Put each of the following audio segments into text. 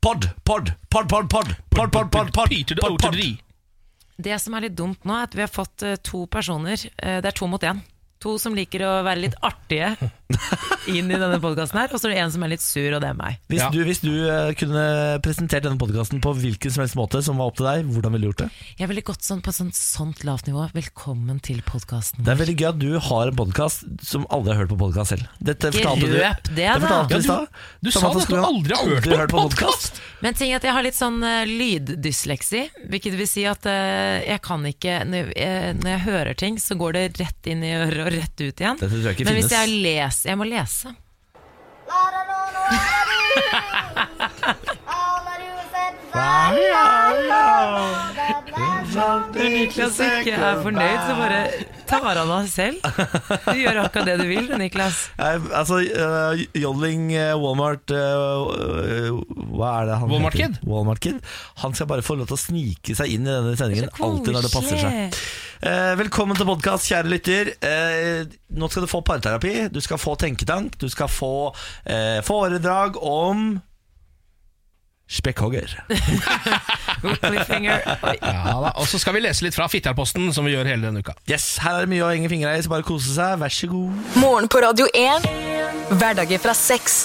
Pod, pod, pod, pod, pod, pod, pod, pod, pod, Pyter det pod, pod. oterdri. Det som er litt dumt nå, er at vi har fått eh, to personer. Eh, Det er to mot én. To som liker å være litt artige inn i denne podkasten her, og så er det en som er litt sur, og det er meg. Hvis, Ja. du, hvis du eh, kunne presentert denne podkasten på hvilken som helst måte som var opp til deg, hvordan ville du gjort det? Jeg ville gått sånn på et sånt, sånt lavt nivå. Velkommen til podkasten. Det er veldig gøy at du har en podkast som aldri har hørt på podkast selv. Dette Ikke fortalte du. røp det, da. fortalte Ja, du i du- stad. du sa Samantha det at du Skogran aldri har hørt på podcast. Men ting er at jeg har litt sånn eh, lyddysleksi, hvilket vil si at eh, jeg kan ikke når jeg, eh, når jeg hører ting, så går det rett inn i øret og rett ut igjen. Dette tror jeg ikke Men hvis finnes. jeg leser Jeg må lese. Når Niklas ikke er fornøyd, så bare tar han av selv. Du gjør akkurat det du vil, Niklas. Nei, altså, eh, Jodling eh, Walmart eh, eh, Hva er det han Walmart heter? Kid? Walmart Kid. Han skal bare få lov til å snike seg inn i denne sendingen alltid når det passer seg. Eh, velkommen til podkast, kjære lytter. Eh, nå skal du få parterapi, du skal få tenketank, du skal få eh, foredrag om Spekkhogger. God cliffhanger. Oi. Ja, da. Og så skal vi lese litt fra Fitjarposten, som vi gjør hele denne uka. Yes, her er det mye å henge fingra i, så bare kose seg. Vær så god. Morgen på Radio 1. Hverdager fra seks.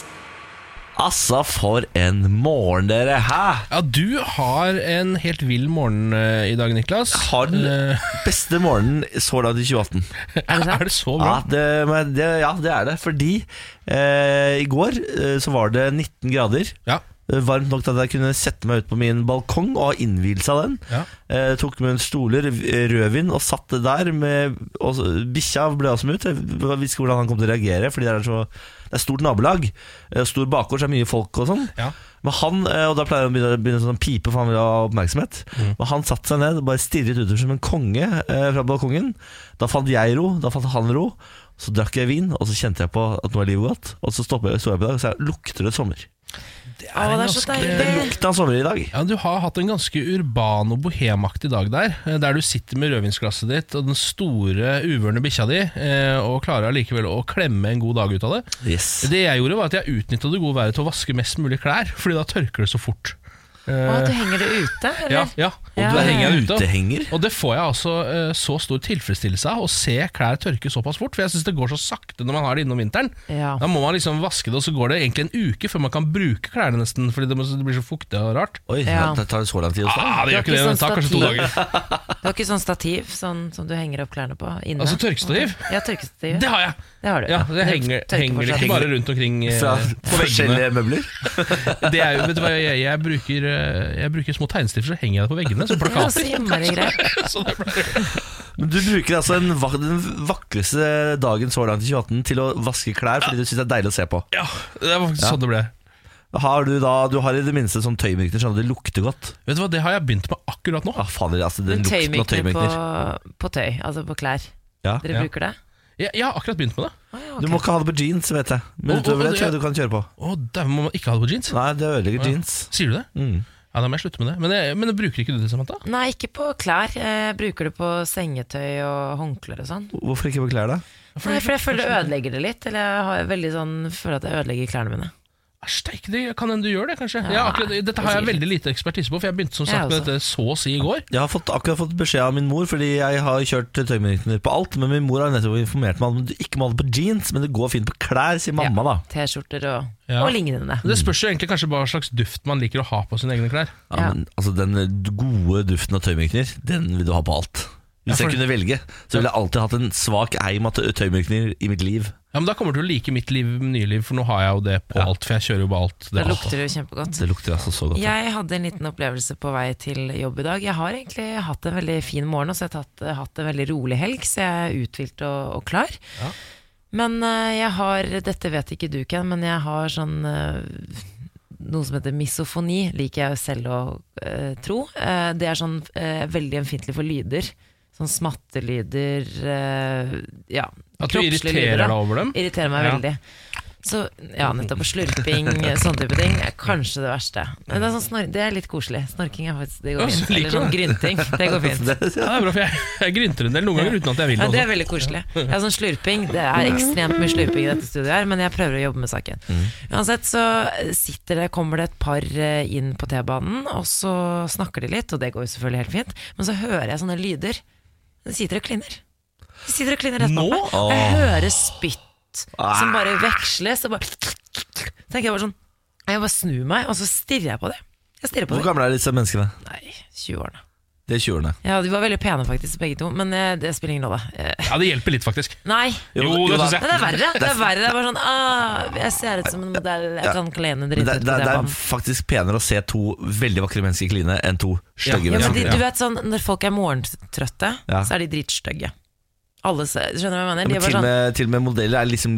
Altså, for en morgen, dere. Hæ? Ja, du har en helt vill morgen eh, i dag, Niklas. Har den Eh, beste morgenen så langt i 2018. er, det så bra? Ja det, men det, ja, det er det. Fordi eh, i går eh, så var det 19 grader. Ja. Eh, Varmt nok til at jeg kunne sette meg ut på min balkong og ha innvielse av den. Ja. Eh, tok med en stoler, eh, rødvin og satt det der. Med, og så- bikkja ble også med ut. Jeg visste ikke hvordan han kom til å reagere, fordi det er, så, det er stort nabolag. eh, Stor bakgård, så er det mye folk og sånn. Ja. Men han, eh, og da pleier han å begynne, begynne sånn pipe, for han vil ha oppmerksomhet. Mm. Men han satte seg ned og bare stirret utover som en konge eh, fra balkongen. Da fant jeg ro, da fant han ro. Så drakk jeg vin, og så kjente jeg på at nå er livet godt. Og så stoppet jeg, så jeg på dag og sa lukter det sommer. Å, det er så Det deilig. lukta sommer i dag. Ja, Du har hatt en ganske urban og bohemaktig dag der. eh, Der du sitter med rødvinsglasset ditt og den store, uvørne bikkja di, eh, og klarer allikevel å klemme en god dag ut av det. Yes. Det jeg gjorde, var at jeg utnytta det gode været til å vaske mest mulig klær, Fordi da tørker det så fort. Å, at du henger det ute, eller? Ja, ja. Og Ja. du er henger ute. utehenger. Og det får jeg altså eh, så stor tilfredsstillelse av, å se klær tørke såpass fort. For jeg syns det går så sakte når man har det innom vinteren. Ja. Da må man liksom vaske det, og så går det egentlig en uke før man kan bruke klærne nesten, fordi det, må, det blir så fuktig og rart. Oi, Ja. det tar det så lang tid også. Ah, det gjør ikke Det det, er det tar ikke kanskje to sånn dager. Du har ikke sånn stativ sånn, som du henger opp klærne på inne? Altså tørkestativ? Ja, tørkestativ. Det har jeg! Det har du. Ja, det henger, tørker henger fortsatt. ikke bare rundt omkring eh, Fra på veggene. forskjellige møbler. Det er, jo- vet du hva, jeg, jeg, bruker, eh, jeg bruker små tegnestifter, så henger jeg det på veggene som Det er så plakater. innmari greit. Så det blir- Men du bruker altså en, vak- den vakreste dagen så langt i 2018 til å vaske klær fordi du syns det er deilig å se på. Ja, det var faktisk sånn det ble. Har du, da, du har i det minste sånn tøymykner, sånn at det lukter godt. Vet du hva, Det har jeg begynt med akkurat nå. Ah, fader, altså, Men den lukten tøymykner av på, tøymykner. på tøy, altså på klær. Ja. Dere Ja. bruker det? Jeg, jeg har akkurat begynt med det. Å, ja, Du ok. må ikke ha det på jeans, vet jeg. Og- Men og- utover det og- tror jeg du kan kjøre på. Å, dæven, må man ikke ha det på jeans? Nei, det ødelegger jeans. Sier du det? Mm. Ja, Da må jeg slutte med det. Men, jeg, men bruker ikke du det, Samantha? Nei, ikke på klær. Jeg bruker det på sengetøy og håndklær og sånn. Hvorfor ikke på klær, da? Nei, for jeg føler det ødelegger det litt. Eller jeg har veldig sånn, føler at jeg ødelegger klærne mine. Æsj, steik, Ah, det kan hende du gjør det, kanskje. Ja, Ja, akkurat, dette har jeg sikkert. veldig lite ekspertise på, for jeg begynte som Jeg sagt med også. dette så å si i går. Jeg har fått, akkurat fått beskjed av min mor, fordi jeg har kjørt tøymykner på alt. Men min mor har nettopp informert meg om at du ikke må ha det på jeans, men det går fint på klær, sier mamma, da. T-skjorter og, Ja. og lignende. Men Det spørs jo egentlig kanskje hva slags duft man liker å ha på sine egne klær. Ja, Ja. men altså Den gode duften av tøymykner, den vil du ha på alt. Hvis Ja, for- jeg kunne velge, så ville jeg alltid hatt en svak eim av tø- tøymykner i mitt liv. Ja, men Da kommer du til å like mitt liv, nye liv, for nå har jeg jo det på alt. For jeg kjører jo på alt. Da Det alt. lukter det jo kjempegodt. Det lukter altså så godt. Ja. Jeg hadde en liten opplevelse på vei til jobb i dag. Jeg har egentlig hatt en veldig fin morgen, og så har jeg tatt, hatt en veldig rolig helg, så jeg er uthvilt og, og klar. Ja. Men eh, jeg har, dette vet ikke du, Ken, men jeg har sånn eh, noe som heter misofoni, liker jeg selv å eh, tro. Eh, det er sånn eh, veldig ømfintlig for lyder. Sånn smattelyder, eh, ja. At du kroppslige lyder, irriterer da. deg over dem. Irriterer meg Ja. veldig. Så ja, nettopp slurping, sånne type ting, er kanskje det verste. Men det er, sånn snor det er litt koselig. Snorking er faktisk, det Ja, går så fint. liker Eller sånn grynting, det går fint. Det, Ja, det er bra, for jeg, jeg grynter en del noen ganger uten at jeg vil Ja, det det. er veldig koselig. Ja, sånn slurping, Det er ekstremt mye slurping i dette studiet, her men jeg prøver å jobbe med saken. Uansett så sitter det, kommer det et par eh, inn på T-banen, og så snakker de litt, og det går jo selvfølgelig helt fint, men så hører jeg sånne lyder. De sitter og kliner. De sitter og kliner rett Nå? bak meg. Og Jeg hører spytt som bare veksles, og bare tenker jeg bare sånn Jeg bare snur meg, og så stirrer jeg på det. Jeg stirrer på Hvor det. gamle er disse menneskene? Nei, 20-årene. De er 20-årene. Ja, de var veldig pene faktisk, begge to, men eh, det spiller ingen rolle. Eh, Ja, det hjelper litt, faktisk. Nei. Jo, det da. synes jeg. Nei, det er verre. Det er verre, det er bare sånn ah, Jeg ser ut som en modell, jeg kan klene Men dritt Det, ut på det, det er T-banen. faktisk penere å se to veldig vakre mennesker kline enn to stygge Ja, men de, mennesker. du vet sånn, Når folk er morgentrøtte, Ja. så er de dritstygge. Alle se- Skjønner du hva jeg mener? Ja, De er men til, bare og sånn med, til og med modeller er liksom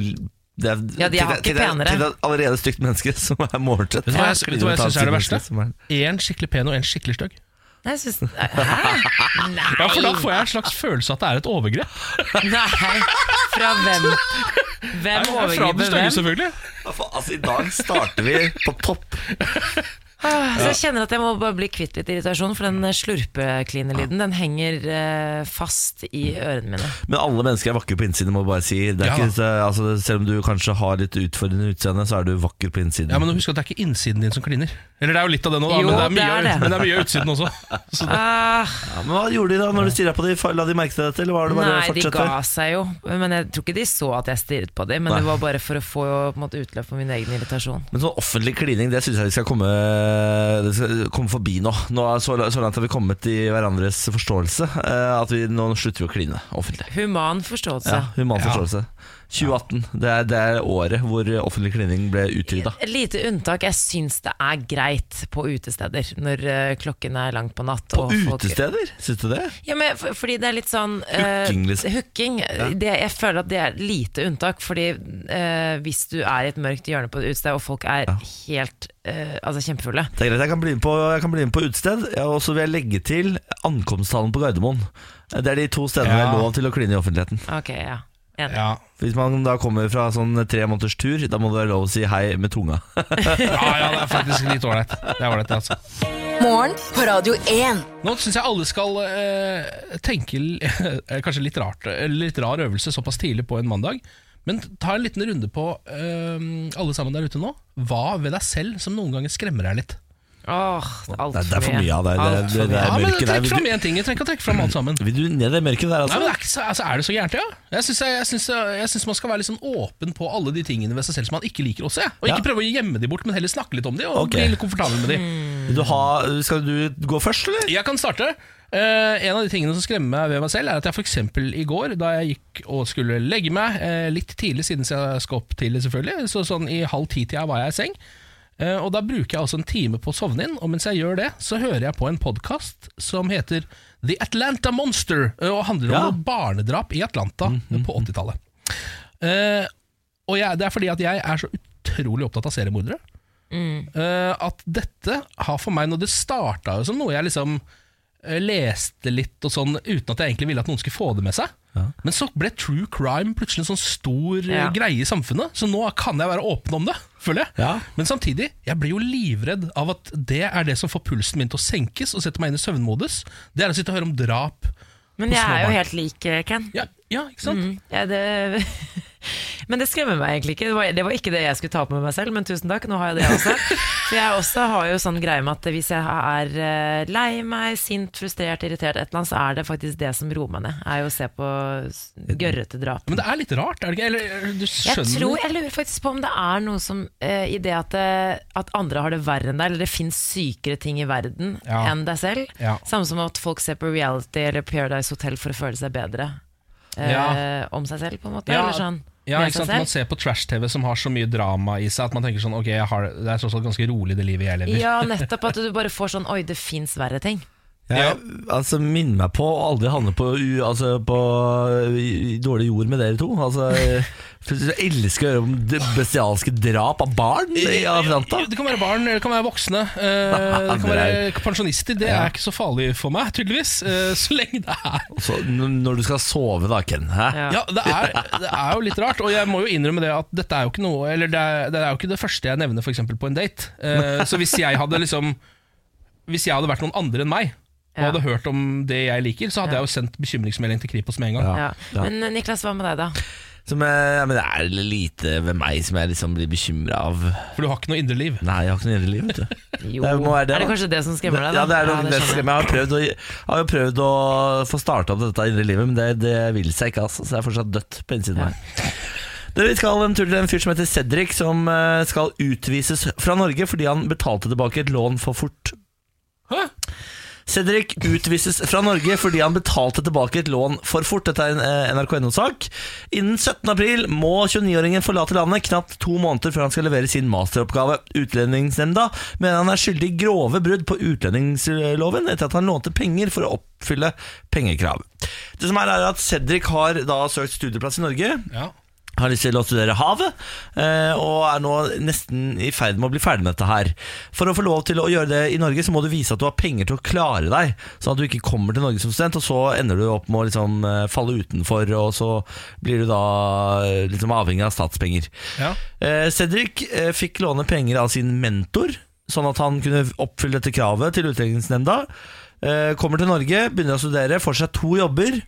det er, Ja, de er til- hakket til- til- penere. Til et allerede stygt menneske som er Vet morgentrøtt. du hva jeg- Ja. vet du hva jeg synes er det verste? Som er- Én skikkelig pen og én skikkelig stygg. Nei, jeg synes, Hæ? Nei. Ja, for da får jeg en slags følelse at det er et overgrep. Nei. Fra hvem? Hvem Nei, Fra den overgriper stygge, hvem? selvfølgelig. Ja, for, Altså, I dag starter vi på topp. Ah, Så jeg kjenner at jeg må bare bli kvitt litt irritasjon, for den eh, slurpeklinelyden Den henger eh, fast i ørene mine. Men alle mennesker er vakre på innsiden, må jeg bare si. Det er Ja. ikke, så- altså, selv om du kanskje har litt utfordrende utseende, så er du vakker på innsiden. Ja, men husk at det er ikke innsiden din som kliner. Eller det er jo litt av det nå, da, men, Jo, det er det mye, er det. men det er mye av utsiden også. Så det, Ah. Ja, men hva gjorde de da når du stirra på dem? La de merke til dette, eller var det bare å Nei, de fortsette? ga seg jo. Men Jeg tror ikke de så at jeg stirret på dem. Men Nei. det var bare for å få på en måte, utløp for min egen irritasjon. Men sånn offentlig klining, det syns jeg vi skal komme, det skal komme forbi nå. nå er så, så langt har vi kommet i hverandres forståelse eh, at vi nå slutter vi å kline offentlig. Human forståelse. Ja, Human forståelse. 2018. Det er, det er året hvor offentlig klining ble utrydda. Et lite unntak. Jeg syns det er greit på utesteder når eh, klokken er langt på natt. På og folk- utesteder, syns du det? Ja, men for, fordi det er litt sånn eh, Hooking, liksom. hooking, det, jeg føler at det er lite unntak. Fordi eh, hvis du er i et mørkt hjørne på et utested, og folk er helt eh, altså kjempefulle Det er greit, jeg kan bli med på, jeg kan bli med på utested. Ja, Og så vil jeg legge til ankomsthallen på Gardermoen. Eh, Det er de to stedene det Ja. er lov til å kline i offentligheten. Ok, ja. Enig. ja. Hvis man da kommer fra sånn tre måneders tur, da må det være lov å si hei med tunga. ja, ja, det er faktisk litt ålreit. Det er ålreit, det, altså. Morgen på Radio 1. Nå syns jeg alle skal eh, tenke l- eh, Kanskje litt rart eller Litt rar øvelse såpass tidlig på en mandag. Men ta en liten runde på eh, alle sammen der ute nå. Hva ved deg selv som noen ganger skremmer deg litt? Åh, det er Nei, altfor det er for mye av deg. Det, Alt for det, det mye. Ja, er men mørket der. Trekk Vil fram du- én ting. Jeg trenger ikke å trekke fram alt sammen. Vil du ned i det mørket der, Nei, altså? men det er, ikke så, altså, er det så gærent, ja? Jeg syns, jeg, jeg, syns, jeg syns man skal være litt sånn åpen på alle de tingene ved seg selv som man ikke liker å se. Og ikke Ja. prøve å gjemme de bort, men heller snakke litt om de og Ok. bli litt komfortabel med de. Vil du ha, skal du gå først, eller? Jeg kan starte. Eh, en av de tingene som skremmer meg ved meg selv, er at jeg f.eks. i går, da jeg gikk og skulle legge meg, eh, litt tidlig siden jeg skal opp tidlig, selvfølgelig, så sånn i halv ti-tida var jeg i seng. Eh, og da bruker jeg altså en time på å sovne inn, og mens jeg gjør det, så hører jeg på en podkast som heter The Atlanta Monster, eh, og handler om Ja. Mhm. noe barnedrap i Atlanta eh, på 80-tallet. Eh, og jeg, det er fordi at jeg er så utrolig opptatt av seriemordere. Mm. eh, at dette har for meg, når det starta jo som noe jeg liksom eh, leste litt og sånn, uten at jeg egentlig ville at noen skulle få det med seg. Men så ble true crime plutselig en sånn stor eh, Ja. greie i samfunnet, så nå kan jeg være åpen om det, føler jeg. Ja. Men samtidig, jeg blir jo livredd av at det er det som får pulsen min til å senkes og setter meg inn i søvnmodus. Det er å sitte og høre om drap. Men jeg små er jo barn. helt lik eh, Ken. Ja, ja ikke sant? Ja, det, men det skremmer meg egentlig ikke. Det var, det var ikke det jeg skulle ta opp med meg selv, men tusen takk, nå har jeg det også. For jeg også har jo sånn greie med at hvis jeg er eh, lei meg, sint, frustrert, irritert, et eller annet, så er det faktisk det som roer meg ned. Er jo å se på s- gørrete drap. Men det er litt rart, er det ikke? Eller eh, du skjønner Jeg tror, jeg lurer faktisk på om det er noe som eh, I det at, det at andre har det verre enn deg, eller det fins sykere ting i verden Ja. enn deg selv. Ja. Samme som at folk ser på reality eller Paradise Hotel for å føle seg bedre eh, Ja. om seg selv, på en måte. Ja. Eller sånn. Ja, med ikke seg sant? selv. Man ser på trash-TV som har så mye drama i seg at man tenker sånn Ok, jeg har, det er tross alt ganske rolig det livet jeg lever. Ja, nettopp at du bare får sånn Oi, det fins verre ting. Jeg, altså, Minn meg på å aldri handle på, u- altså, på i- i dårlig jord med dere to. Altså, for jeg elsker å høre om det bestialske drap av barn i Atlanta. Det kan være barn, eller det kan være voksne. eh, Det kan være pensjonister. Det er ikke så farlig for meg, tydeligvis. eh, Så lenge det er Så, Altså, n- når du skal sove, da, Ken. Hæ? Ja. Ja, det er, det er jo litt rart, og jeg må jo innrømme det at dette er jo ikke noe Eller det er, det er jo ikke det første jeg nevner for eksempel på en date. Eh, så hvis jeg hadde liksom Hvis jeg hadde vært noen andre enn meg og Ja. hadde hørt om det jeg liker, så hadde jeg jo sendt bekymringsmelding til Kripos med en gang. Ja. Ja. Men eh, Niklas, hva med deg, da? Som jeg, ja, men det er lite ved meg som jeg liksom blir bekymra av. For du har ikke noe indre liv. Nei, jeg har ikke noe indre liv, vet du. Jo, Det må være det, er det da. kanskje det som skremmer deg? Da? Ja, det er det, det skjønner jeg. skremmer. Jeg har prøvd å, jeg har jo prøvd å få starta opp dette indre livet, men det, det vil seg ikke, altså. Så jeg er fortsatt dødt på innsiden her. Dere, Vi skal en tur til en fyr som heter Cedric, som eh, skal utvises fra Norge fordi han betalte tilbake et lån for fort. Hæ? Cedric utvises fra Norge fordi han betalte tilbake et lån for fort. Dette er en eh, NRK-NO-sak. Innen 17. april må 29-åringen forlate landet knapt to måneder før han skal levere sin masteroppgave. Utlendingsnemnda mener han er skyldig i grove brudd på utlendingsloven etter at han lånte penger for å oppfylle pengekrav. Det som er, er at Cedric har da søkt studieplass i Norge Ja. har lyst til å studere havet, eh, og er nå nesten i ferd med å bli ferdig med dette her. For å få lov til å gjøre det i Norge, så må du vise at du har penger til å klare deg, sånn at du ikke kommer til Norge som student, og så ender du opp med å liksom eh, falle utenfor, og så blir du da eh, liksom avhengig av statspenger. Ja. Eh, Cedric eh, fikk låne penger av sin mentor, sånn at han kunne oppfylle dette kravet til utlendingsnemnda. Eh, kommer til Norge, begynner å studere, får seg to jobber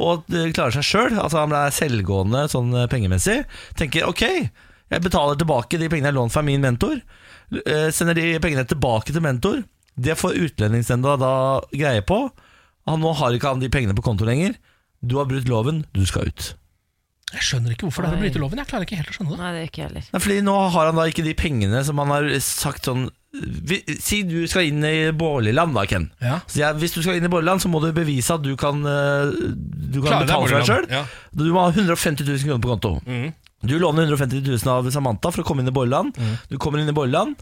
og eh, klarer seg sjøl. Altså, han er selvgående sånn eh, pengemessig. Tenker ok, jeg betaler tilbake de pengene jeg lånte fra min mentor. Eh, sender de pengene tilbake til mentor. Det får utlendingsnemnda da greie på. Han, nå har ikke han de pengene på konto lenger. Du har brutt loven, du skal ut. Jeg skjønner ikke hvorfor dere Oi. bryter loven. Jeg klarer ikke helt å skjønne det. Nei, det gjør ikke jeg heller. Nei, fordi nå har han da ikke de pengene som han har sagt sånn vi, Si du skal inn i Bårliland da, Ken. Ja. Så jeg, hvis du skal inn i Bårliland, så må du bevise at du kan, eh, du kan Klare deg betale for deg Borreland. sjøl. Du må ha 150 000 kroner på konto. Mhm. Du låner 150 000 av Samantha for å komme inn i Bårliland. Mhm. Du kommer inn i Bårliland,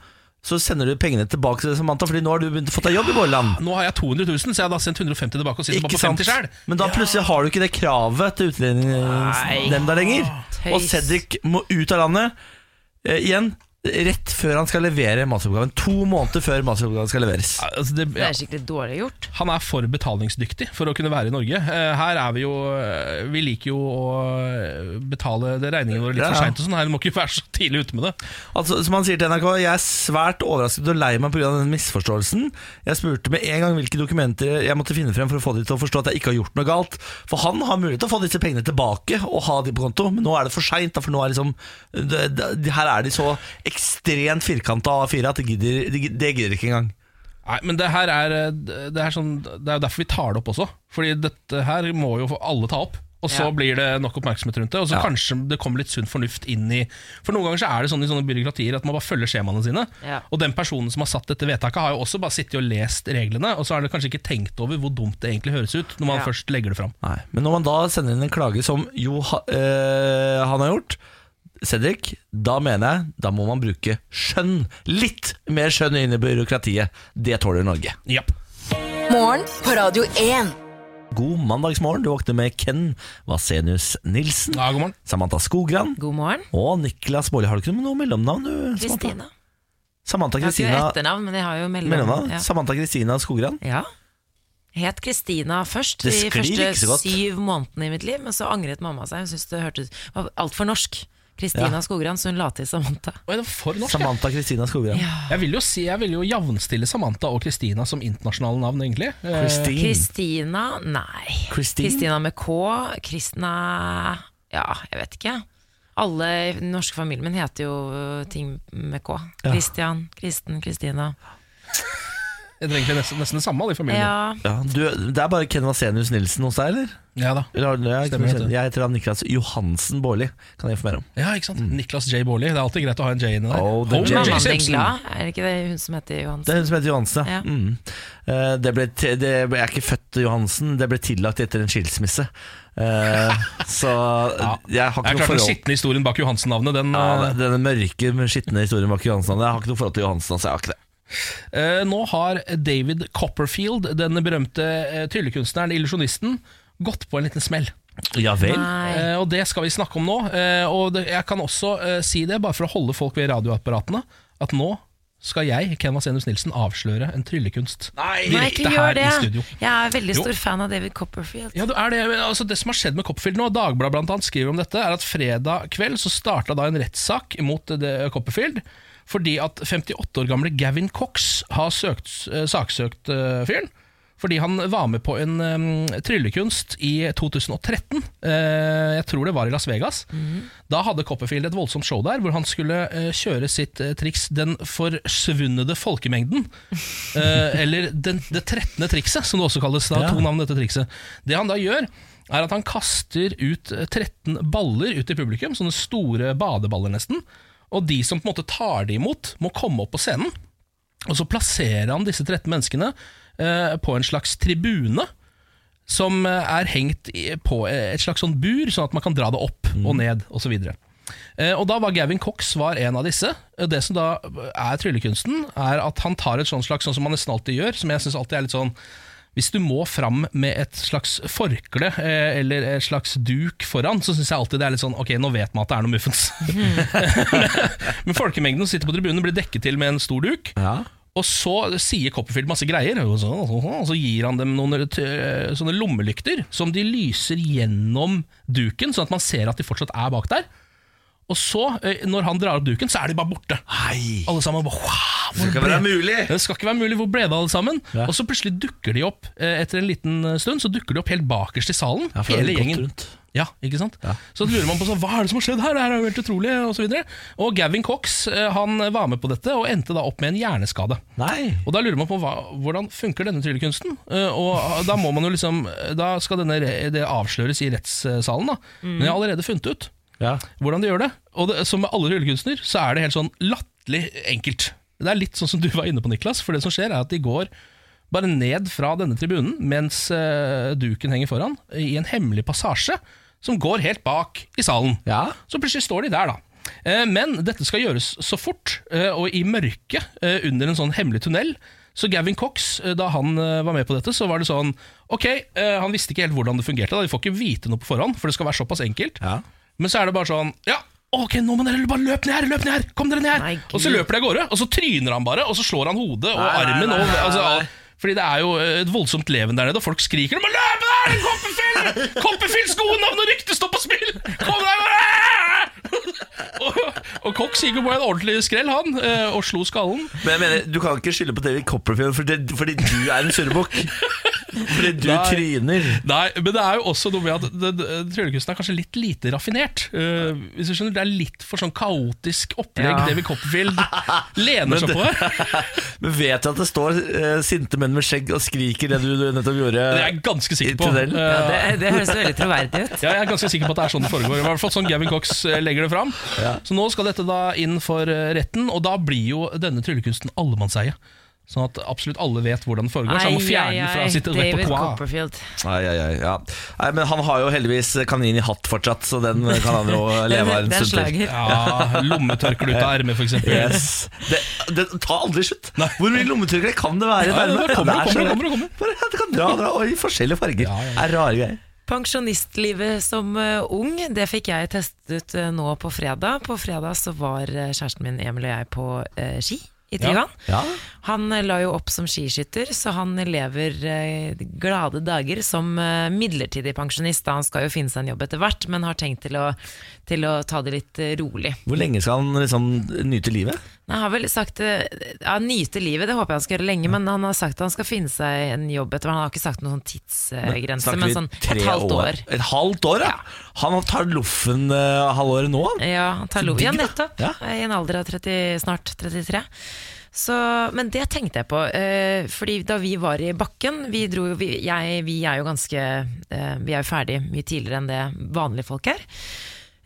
så sender du pengene tilbake til Samantha, Fordi nå har du begynt, fått deg jobb i Bårliland. Nå har jeg 200 000, så jeg har da sendt 150 tilbake og sitter bare Ikke på sant? 50 selv Men da plutselig har du ikke det kravet til utlendingsnemnda lenger. Og Tøys. Cedric må ut av landet eh, igjen rett før han skal levere masteroppgaven. To måneder før masteroppgaven skal leveres. Ja, Altså, det, Det ja. er skikkelig dårlig gjort. han er for betalingsdyktig for å kunne være i Norge. Eh, Her er vi jo eh, Vi liker jo å eh, betale det regningene våre litt Ja, for ja. seint og sånn. Her må ikke være så tidlig ute med det. Altså, som han sier til NRK, jeg er svært overrasket og lei meg pga. den misforståelsen. Jeg spurte med en gang hvilke dokumenter jeg måtte finne frem for å få de til å forstå at jeg ikke har gjort noe galt. For han har mulighet til å få disse pengene tilbake og ha de på konto, men nå er det for seint. For nå er liksom, det, det, her er de så ekstremt firkanta A4 at det gidder, det gidder- det gidder ikke engang. Nei, men det her er eh, Det er, sånn, det er jo derfor vi tar det opp også. Fordi dette her må jo få alle ta opp. Og så Ja. blir det nok oppmerksomhet rundt det. Og så kanskje det kommer litt sunn fornuft inn i For noen ganger så er det sånn i sånne byråkratier at man bare følger skjemaene sine. Ja. Og den personen som har satt dette vedtaket, har jo også bare sittet og lest reglene. Og så har han kanskje ikke tenkt over hvor dumt det egentlig høres ut når man Ja. først legger det fram. Nei, Men når man da sender inn en klage som jo ha, eh, han har gjort Cedric, da mener jeg da må man bruke skjønn. Litt mer skjønn inn i byråkratiet. Det tåler Norge. Ja. Morgen på Radio 1. God mandagsmorgen. Du våkner med Ken Vasenius Nilsen, Ja, god morgen. Samantha Skogran God morgen. og Niklas Baarli. Har du ikke noe mellomnavn? du, Samantha? Kristina. Samantha Jeg har ikke Kristina etternavn, men jeg har jo mellomnavn. mellomnavn. Ja. Samantha Kristina Skogran. ja. Het Kristina først Det de sklir første ikke så godt. syv månedene i mitt liv, men så angret mamma seg. Hun syntes det hørtes var altfor norsk. Kristina Ja. Mm. Skogran, så hun la til Samantha. Oi, det var for norsk. jeg. Samantha Kristina Skogran. Jeg vil jo si, jeg vil jo javnstille Samantha og Kristina som internasjonale navn, egentlig. Eh, Christine. Kristina Nei. Christine? Kristina med K. Kristna Ja, jeg vet ikke. Alle i den norske familien min heter jo øh, ting med K. Kristian, Kristen, Kristina. Jeg trenger egentlig nesten, nesten det samme, alle i familien. Ja, Ja, du, det er bare Ken Vasenius Nilsen hos deg, eller? Ja da. eller har du- jeg, Stemmer, vet du. jeg heter da Niklas Johansen Baarli. Kan jeg informere om. Ja, ikke sant? Mm. Niklas J. Baarli. Det er alltid greit å ha en J inni der. Oh, the J. Mammaen din Simpson. glad, er det ikke det hun som heter Johansen? Det er hun som heter Johansen, ja. Ja. Mm. Eh, Det ble, te- det ble, jeg er ikke født Johansen, det ble tillagt etter en skilsmisse. Eh, så jeg har Det ikke er noe klart Den forhold skitne historien bak Johansen-navnet, den ja, eh, Denne mørke, men skitne historien bak Johansen. Jeg har ikke noe forhold til Johansen. Altså, jeg har ikke det Eh, nå har David Copperfield, den berømte eh, tryllekunstneren, illusjonisten, gått på en liten smell. Ja vel? Nei. Eh, og det skal vi snakke om nå. Eh, og det, jeg kan også eh, si det, bare for å holde folk ved radioapparatene, at nå skal jeg, Ken Vasenius Nilsen, avsløre en tryllekunst. Nei, Direkte ikke her i gjør det. studio. Jeg er veldig Jo. stor fan av David Copperfield. Ja, det er det. Men Altså, det som har skjedd med Copperfield nå, Dagbladet blant annet skriver om dette, er at fredag kveld så starta da en rettssak mot eh, det- Copperfield fordi at 58 år gamle Gavin Cox har søkt, eh, saksøkt eh, fyren. Fordi han var med på en eh, tryllekunst i 2013. eh, jeg tror det var i Las Vegas. Da hadde Copperfield et voldsomt show der, hvor han skulle eh, kjøre sitt eh, triks 'Den forsvunnede folkemengden'. Eh, eller den, det 13. trikset, som det også kalles. Det har to navn, dette trikset. Det han da gjør, er at han kaster ut eh, 13 baller ut til publikum, sånne store badeballer nesten. Og de som på en måte tar de imot, må komme opp på scenen. Og så plasserer han disse 13 menneskene eh, på en slags tribune. Som eh, er hengt i- på et slags sånn bur, sånn at man kan dra det opp og ned osv. Eh, og da var Gavin Cox var en av disse. Eh, Det som da er tryllekunsten, er at han tar et sånt slags, sånn som man nesten alltid gjør, som jeg syns alltid er litt sånn Hvis du må fram med et slags forkle eh, eller et slags duk foran, så syns jeg alltid det er litt sånn Ok, nå vet man at det er noe muffens. Men folkemengden som sitter på tribunen, blir dekket til med en stor duk. Ja. Og så sier Copperfield masse greier, og så, og så gir han dem noen t- sånne lommelykter som de lyser gjennom duken, sånn at man ser at de fortsatt er bak der. Og så, eh, når han drar opp duken, så er de bare borte. Hei! Alle sammen bare wow, hvor Det skal være ble- mulig! det skal ikke være mulig, hvor ble det av alle sammen? Ja. Og så plutselig dukker de opp eh, etter en liten stund Så dukker de opp helt bakerst i salen. Ja, for det har hele gått gjengen. rundt. Ja, ikke sant? Så lurer man på sånn, hva er det som har skjedd her, det her er jo helt utrolig, og så videre. Og Gavin Cox eh, han var med på dette og endte da opp med en hjerneskade. Nei! Og da lurer man på hva, hvordan funker denne tryllekunsten? Eh, og da må man jo liksom Da skal denne, re- det avsløres i rettssalen, da. Men jeg har allerede funnet ut Ja. hvordan de gjør det. Og det, som med alle tryllekunstner, så er det helt sånn latterlig enkelt. Det er litt sånn som du var inne på, Niklas. For det som skjer, er at de går bare ned fra denne tribunen mens eh, duken henger foran, i en hemmelig passasje som går helt bak i salen. Ja. Så plutselig står de der, da. Eh, Men dette skal gjøres så fort, eh, og i mørke, eh, under en sånn hemmelig tunnel. Så Gavin Cox, eh, da han eh, var med på dette, så var det sånn Ok, eh, han visste ikke helt hvordan det fungerte. Da. De får ikke vite noe på forhånd, for det skal være såpass enkelt. Ja. Men så er det bare sånn Ja, ok, nå må dere bare løpe ned her! Løp ned her! Kom dere ned her! Nei, og så Gud. løper de av gårde, og så tryner han bare, og så slår han hodet og Nei, nei, armen nei, og nei, altså, nei. alt. Fordi det er jo eh, et voldsomt leven der nede, og folk skriker 'Du må løpe der! Koppefyll! Koppefyll skoenavn og rykte står på spill! Kom deg bare!» og, og Cox gikk jo på en ordentlig skrell, han, eh, og slo skallen. Men jeg mener, du kan ikke skylde på David Copperfield fordi, fordi du er en surrebukk. Fordi du Nei. tryner. Nei, men det er jo også noe med at det- det- tryllekunsten er kanskje litt lite raffinert. Eh, hvis du skjønner, Det er litt for sånn kaotisk opplegg Ja. David Copperfield lener seg det- på her. Men vet jeg at det står eh, sinte menn med skjegg og skriker det du nettopp gjorde? Det er jeg ganske sikker på. Til den? Eh, Det, det høres veldig troverdig ut. ja, jeg er ganske sikker på at det er sånn det foregår. I hvert fall sånn Gavin Cox eh, legger det fram. Så nå skal dette da inn for eh, retten, og da blir jo denne tryllekunsten allemannseie. Sånn at absolutt alle vet hvordan det foregår. Så han sånn må fjerne den fra sitt David repertoar. Copperfield. Ai, ai, ai, ja. Nei, men han har jo heldigvis kanin i hatt fortsatt, så den kan han jo leve av en Det er en stund til. slager. Ja, lommetørkle ut av ermet, for eksempel. Yes. Det, det tar aldri slutt. Hvor mye lommetørkle kan det være? i et Ja, det erme? bare kommer Det og er så gøy. kommer og kommer og kommer. Bare, ja, Det kan dra, dra og i forskjellige farger. Ja, ja, ja. Det er rare greier. Pensjonistlivet som eh, ung, det fikk jeg testet ut eh, nå på fredag. På fredag så var eh, kjæresten min Emil og jeg på eh, ski i Tryvann. Ja. Han eh, la jo opp som skiskytter, så han lever eh, glade dager som eh, midlertidig pensjonist. Da han skal jo finne seg en jobb etter hvert, men har tenkt til å, til å ta det litt eh, rolig. Hvor lenge skal han liksom nyte livet? Nei, Han har vel sagt eh, ja, nyte livet, det håper jeg han skal gjøre lenge, men han har sagt at han skal finne seg en jobb etter hvert. Han har ikke sagt noen sånn tidsgrense, Snakker men vi sånn tre et halvt år. Et halvt år, ja. Han tar loffen eh, halvåret nå, han. Ja, han tar lov. digg, Ja, da. nettopp. Ja. I en alder av 30, snart 33. Så, men det tenkte jeg på, eh, fordi da vi var i bakken Vi, dro, jo- vi, jeg, vi er jo ganske eh, Vi er jo ferdig mye tidligere enn det vanlige folk er.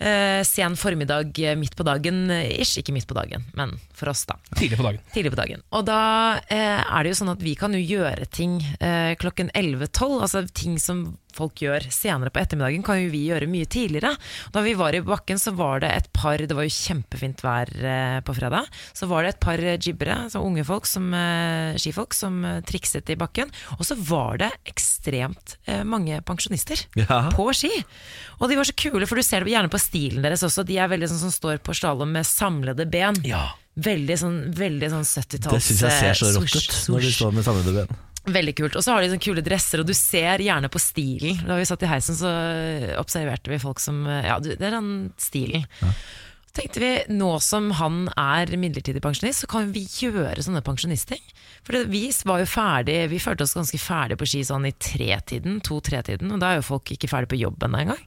Eh, sen formiddag, eh, midt på dagen eh, ish. Ikke midt på dagen, men for oss, da Tidlig på dagen. tidlig på dagen. Og da eh, er det jo sånn at vi kan jo gjøre ting eh, klokken 11-12, altså ting som folk gjør senere på ettermiddagen, kan jo vi gjøre mye tidligere. Da vi var i bakken, så var det et par Det var jo kjempefint vær eh, på fredag. Så var det et par eh, jibbere, altså unge folk, som, eh, skifolk, som eh, trikset i bakken. Og så var det ekstremt eh, mange pensjonister Ja. på ski. Og de var så kule, for du ser det gjerne på stilen deres også. De er veldig sånn som står på slalåm med samlede ben. Ja. Veldig sånn, veldig sånn 70-talls Det syns jeg ser så eh, rått swoosh, ut når de swoosh. står med samlede ben. Veldig kult. Og så har de sånne kule dresser, og du ser gjerne på stilen. Da vi satt i heisen, så observerte vi folk som Ja, du, det er den stilen. Så tenkte vi, nå som han er midlertidig pensjonist, så kan vi gjøre sånne pensjonistting. For det, vi var jo ferdig, vi følte oss ganske ferdig på ski sånn i tretiden, to-tretiden, og da er jo folk ikke ferdig på jobb ennå engang.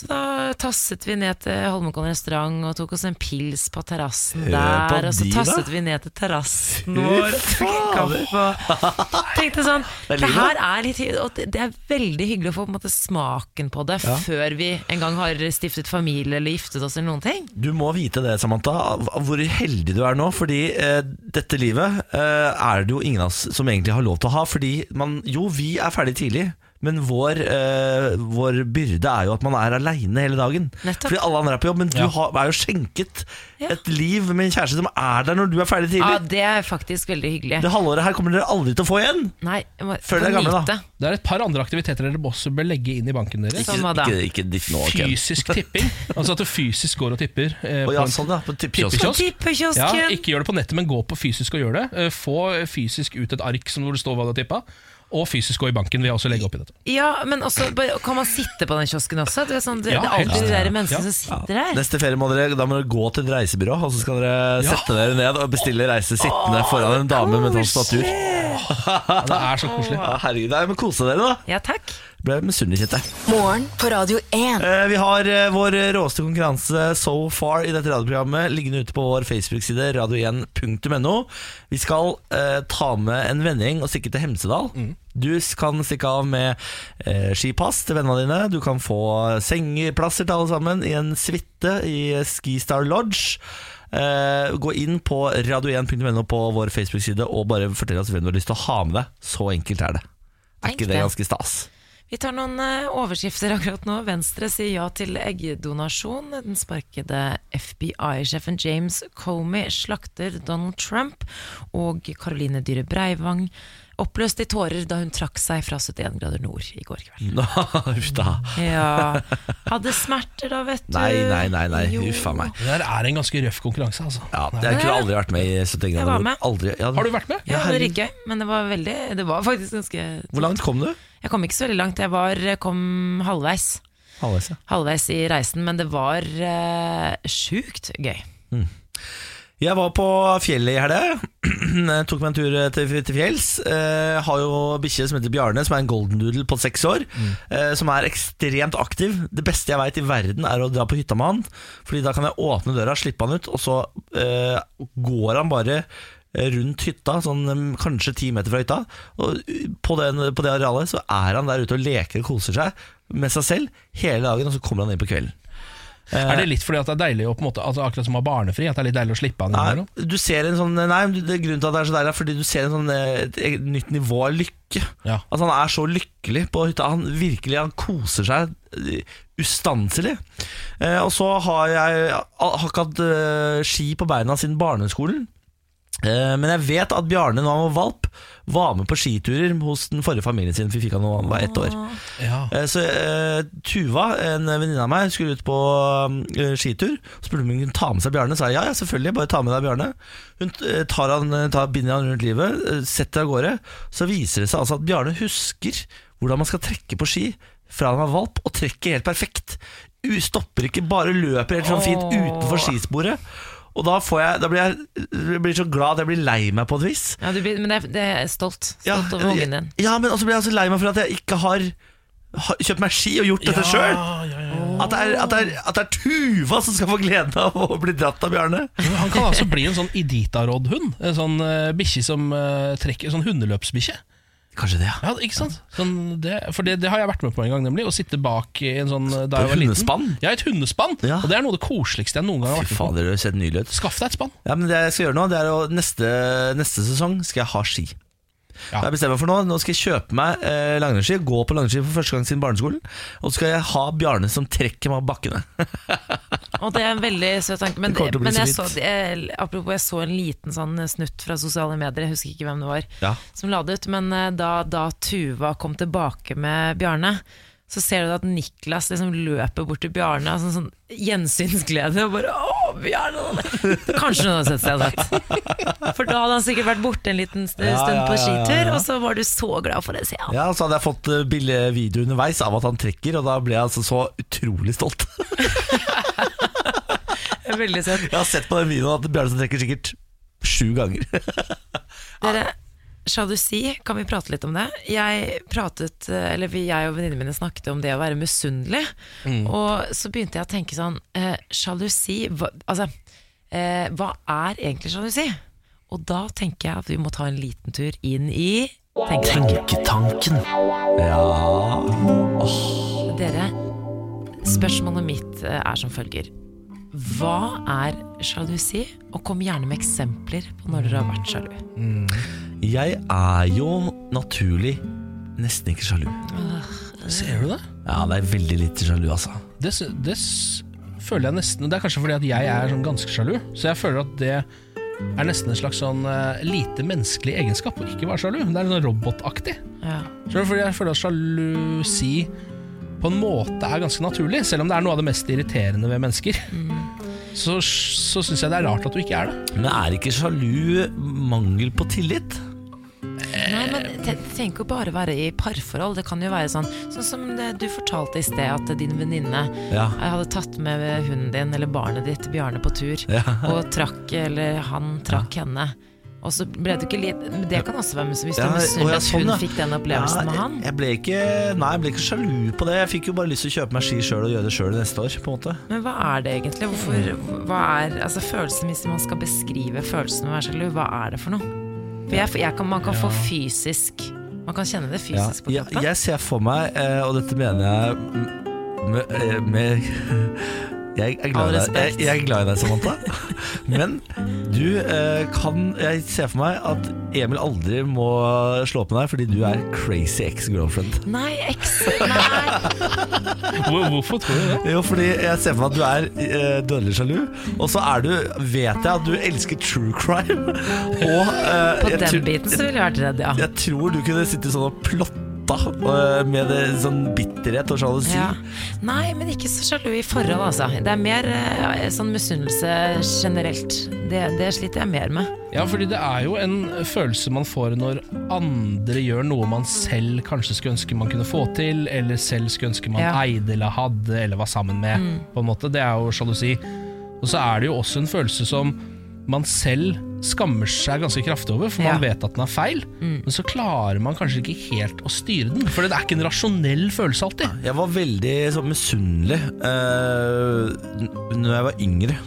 Så da tasset vi ned til Holmenkollen restaurant og tok oss en pils på terrassen Hør på der. Og så de, da. tasset vi ned til terrassen Fy vår. fader. Kaffe. Tenkte sånn Det er Det livet. her er litt hy- og det- Det er veldig hyggelig å få på en måte, smaken på det før vi en gang har stiftet familie eller giftet oss eller noen ting. Du må vite det, Samantha, av hvor heldig du er nå. Fordi eh, dette livet eh, er det jo ingen av oss som egentlig har lov til å ha. Fordi man Jo, vi er ferdig tidlig. Men vår, eh, vår byrde er jo at man er aleine hele dagen. Nettopp. Fordi alle andre er på jobb, men du Ja. har, er jo skjenket Ja. et liv med en kjæreste som er der når du er ferdig tidlig. Ja, det er faktisk veldig hyggelig. Det halvåret her kommer dere aldri til å få igjen! Nei, jeg må Føl deg gammel, da. nyte. Det er et par andre aktiviteter dere også bør legge inn i banken deres. Som hva da? ikke ditt nå, Ken. Fysisk tipping. Altså at du fysisk går og tipper. eh, Å på ja, en- sånn, ja. På tippekiosk. Tippekiosk. På Kiosk? Ja, tippekiosken! ikke gjør det på nettet, men gå på fysisk og gjør det. Eh, Få fysisk ut et ark som hvor det står hva du har tippa, og fysisk gå i banken. vil jeg også legge opp i dette. Ja, men også, bare- kan man sitte på den kiosken også? Det er, sånn, det, Ja, det er alltid helst. de der Ja. menneskene Ja. som sitter der. Neste ferie må dere, da må dere gå til et reisebyrå, og så skal dere sette dere ned og bestille reise sittende foran en dame med sånn statur. Ja, det er så koselig. Ja, herregud, nei, men kose dere da Ja, takk. Ble misunnelig kjent jeg. Morgen på Radio 1. Eh, Vi har eh, vår råeste konkurranse so far i dette radioprogrammet Liggende ute på vår Facebook-side radio1.no Vi skal eh, ta med en vending og stikke til Hemsedal Du s- kan stikke av med eh, skipass til vennene dine Du kan få sengeplasser til alle sammen I en svitte i Skistar Lodge Eh, gå inn på radio1.no på vår Facebook-side Og bare fortell oss hvem du har lyst til å ha med deg Så enkelt er det Er Tenk ikke det det. ganske stas? Vi tar noen eh, overskrifter akkurat nå. Venstre sier ja til eggdonasjon. Den sparkede FBI-sjefen James Comey slakter Donald Trump. Og Caroline Dyhre Breivang oppløst i tårer da hun trakk seg fra 71 grader nord i går kveld. Nå, Uff da. Ja, Hadde smerter da, vet du. Nei, nei, nei, nei. Jo. Uff a meg. Det der er en ganske røff konkurranse, altså. Ja, jeg kunne aldri vært med i 71 Jeg grader. var nord. med. Aldri. Ja, Har du vært med? Ja, det var herregud. ikke gøy, men det var veldig Det var faktisk ganske Hvor langt kom du? Jeg kom ikke så veldig langt. Jeg var, eh, kom halvveis. Halvveis, ja. Halvveis i reisen, men det var eh, sjukt gøy. Jeg var på fjellet i helga. Jeg Tok meg en tur til, til fjells. Eh, har jo bikkje som heter Bjarne, som er en golden doodle på seks år. Eh, som er ekstremt aktiv. Det beste jeg veit i verden er å dra på hytta med han. Fordi da kan jeg åpne døra, slippe han ut, og så eh, går han bare rundt hytta, sånn eh, kanskje ti meter fra hytta. Og eh, på, den, på det arealet så er han der ute og leker og koser seg med seg selv hele dagen, og så kommer han inn på kvelden. Er det litt fordi at det er deilig å på en måte, altså akkurat som å ha barnefri, at det er litt deilig å slippe han Nei, innimellom? du ser en sånn Nei, men det er grunnen til at det er så deilig er Fordi du ser en sånn, eh, et eget nytt nivå av lykke Ja. Altså han er så lykkelig på hytta Han virkelig, han koser seg eh, Ustanselig eh, Og så har jeg Har ikke hatt eh, ski på beina siden barneskolen Eh, Men jeg vet at Bjarne når han var valp Var med på skiturer hos den forrige familien sin For vi fikk han når han var ett år Ja. Eh, Så eh, Tuva, en venninne av meg, skulle ut på eh, skitur. Så spurte hun om hun kunne ta med seg Bjarne. Sa jeg ja, ja, selvfølgelig, bare ta med deg Bjarne. Hun eh, tar han, eh, tar, binder han rundt livet, eh, setter av gårde. Så viser det seg altså at Bjarne husker hvordan man skal trekke på ski fra han var valp, og trekker helt perfekt. U stopper ikke, bare løper helt sånn fint Åh. utenfor skisporet. Og da, får jeg, da blir jeg, jeg blir så glad at jeg blir lei meg på et vis. Ja, du, blir- men det, er- det er stolt. Stolt over jeg- ungen din. Ja, men også blir jeg så lei meg for at jeg ikke har, har kjøpt meg ski og gjort dette sjøl. ja, ja. At det, er, at, det er, at det er Tuva som skal få gleden av å bli dratt av Bjarne. Han kan altså bli en sånn Idita-rådhund. En sånn uh, bikkje som eh, trekker Sånn hundeløpsbikkje. Kanskje det, ja. Ja, ikke sant? Sånn det, for det, det har jeg vært med på en gang, nemlig. Å sitte bak i en sånn eh, da På jeg var liten. hundespann? Ja, et hundespann. Ja. Og det er noe av det koseligste jeg noen gang har vært Fy med på. fader, det ser nydelig ut. Skaff deg et spann. Ja, men det jeg skal gjøre nå, det er å neste, neste sesong skal jeg ha ski. Ja. Det har jeg bestemt meg for nå. Nå skal jeg kjøpe meg eh, langrennsski, gå på langrennsski for første gang siden barneskolen. Og så skal jeg ha Bjarne som trekker meg av bakkene. Og det er en veldig søt tanke. Men, Det kommer til å bli men så jeg så, fint. jeg, apropos, jeg så en liten sånn snutt fra sosiale medier, jeg husker ikke hvem det var, Ja. som la det ut. Men eh, da, da Tuva kom tilbake med Bjarne, så ser du at Niklas liksom løper bort til Bjarne av sånn, sånn gjensynsglede. Og bare 'Å, Bjarne!' Kanskje hun hadde sett seg sett. For da hadde han sikkert vært borte en liten st- Ja, stund på ja, ja, ja, skitur, ja. og så var du så glad for det. Så ja. Ja, Så hadde jeg fått eh, billig video underveis av at han trekker, og da ble jeg altså så utrolig stolt. Veldig søtt. Jeg har sett på den videoen at Bjarne som trekker sikkert sju ganger. Dere, sjalusi, kan vi prate litt om det? Jeg pratet, eh, eller vi- jeg og venninnene mine snakket om det å være misunnelig. Og så begynte jeg å tenke sånn, eh, sjalusi, hva, altså, eh, hva er egentlig sjalusi? Og da tenker jeg at vi må ta en liten tur inn i tenketanken. Tenketanken. Ja Dere, spørsmålet mitt eh, er som følger. Hva er sjalusi? Og kom gjerne med eksempler på når dere har vært sjalu. Jeg er jo naturlig nesten ikke sjalu. Ser du det? Ja, det er veldig lite sjalu, altså. Det, s- det s- føler jeg nesten Det er kanskje fordi at jeg er sånn ganske sjalu, så jeg føler at det er nesten en slags sånn eh, lite menneskelig egenskap å ikke være sjalu. Det er sånn robotaktig. Ja. Skjønner du? Fordi jeg føler at sjalusi på en måte er ganske naturlig, selv om det er noe av det mest irriterende ved mennesker. Så, så syns jeg det er rart at du ikke er det. Men er ikke sjalu mangel på tillit? Nei, Eh, men te- Det trenger ikke å bare være i parforhold. Det kan jo være sånn Sånn som det, du fortalte i sted, at din venninne Ja. eh, hadde tatt med hunden din eller barnet ditt, Bjarne, på tur, Ja. og trakk Eller han trakk henne. Og så ble du ikke litt men Det kan også være mis- hvis du Ja, er og misunnelig ja, at sånn, hun ja. fikk den opplevelsen Ja, med han. Jeg, jeg, ble ikke, nei, jeg ble ikke sjalu på det. Jeg fikk jo bare lyst til å kjøpe meg ski sjøl og gjøre det sjøl neste år. på en måte Men hva er det egentlig? Mm. Hvorfor, hva er altså følelsen Hvis man skal beskrive følelsen av å være sjalu, hva er det for noe? For jeg, jeg kan, man kan få fysisk Man kan kjenne det ja. fysisk på jeg, kroppen. jeg ser for meg, eh, og dette mener jeg med, eh, med jeg er, glad i All deg. Jeg, respekt. jeg er glad i deg, Samantha. Men du eh, kan Jeg ser for meg at Emil aldri må slå opp med deg fordi du er crazy ex-girlfriend. Nei, eks... Nei. hvorfor tror du det? Jo, fordi jeg ser for meg at du er eh, dødelig sjalu, og så er du Vet jeg at du elsker true crime, og eh, På jeg den tror- biten så ville jeg vært redd, ja. Jeg tror du kunne sitte sånn og plotta øh, med det, sånn bitterhet og sjalusi. ja. Nei, men ikke så sjalu i forhold, altså. Det er mer eh, sånn misunnelse generelt. Det, det sliter jeg mer med. Ja, fordi det er jo en følelse man får når andre gjør noe man selv kanskje skulle ønske man kunne få til, eller selv skulle ønske man Ja. Mm. eide eller hadde eller var sammen med. På en måte, Det er jo sjalusi. Og så er det jo også en følelse som man selv skammer seg ganske kraftig over, for man Ja. Mm. vet at den er feil, men så klarer man kanskje ikke helt å styre den. For det er ikke en rasjonell følelse alltid. Jeg var veldig sånn misunnelig øh, n- når jeg var yngre.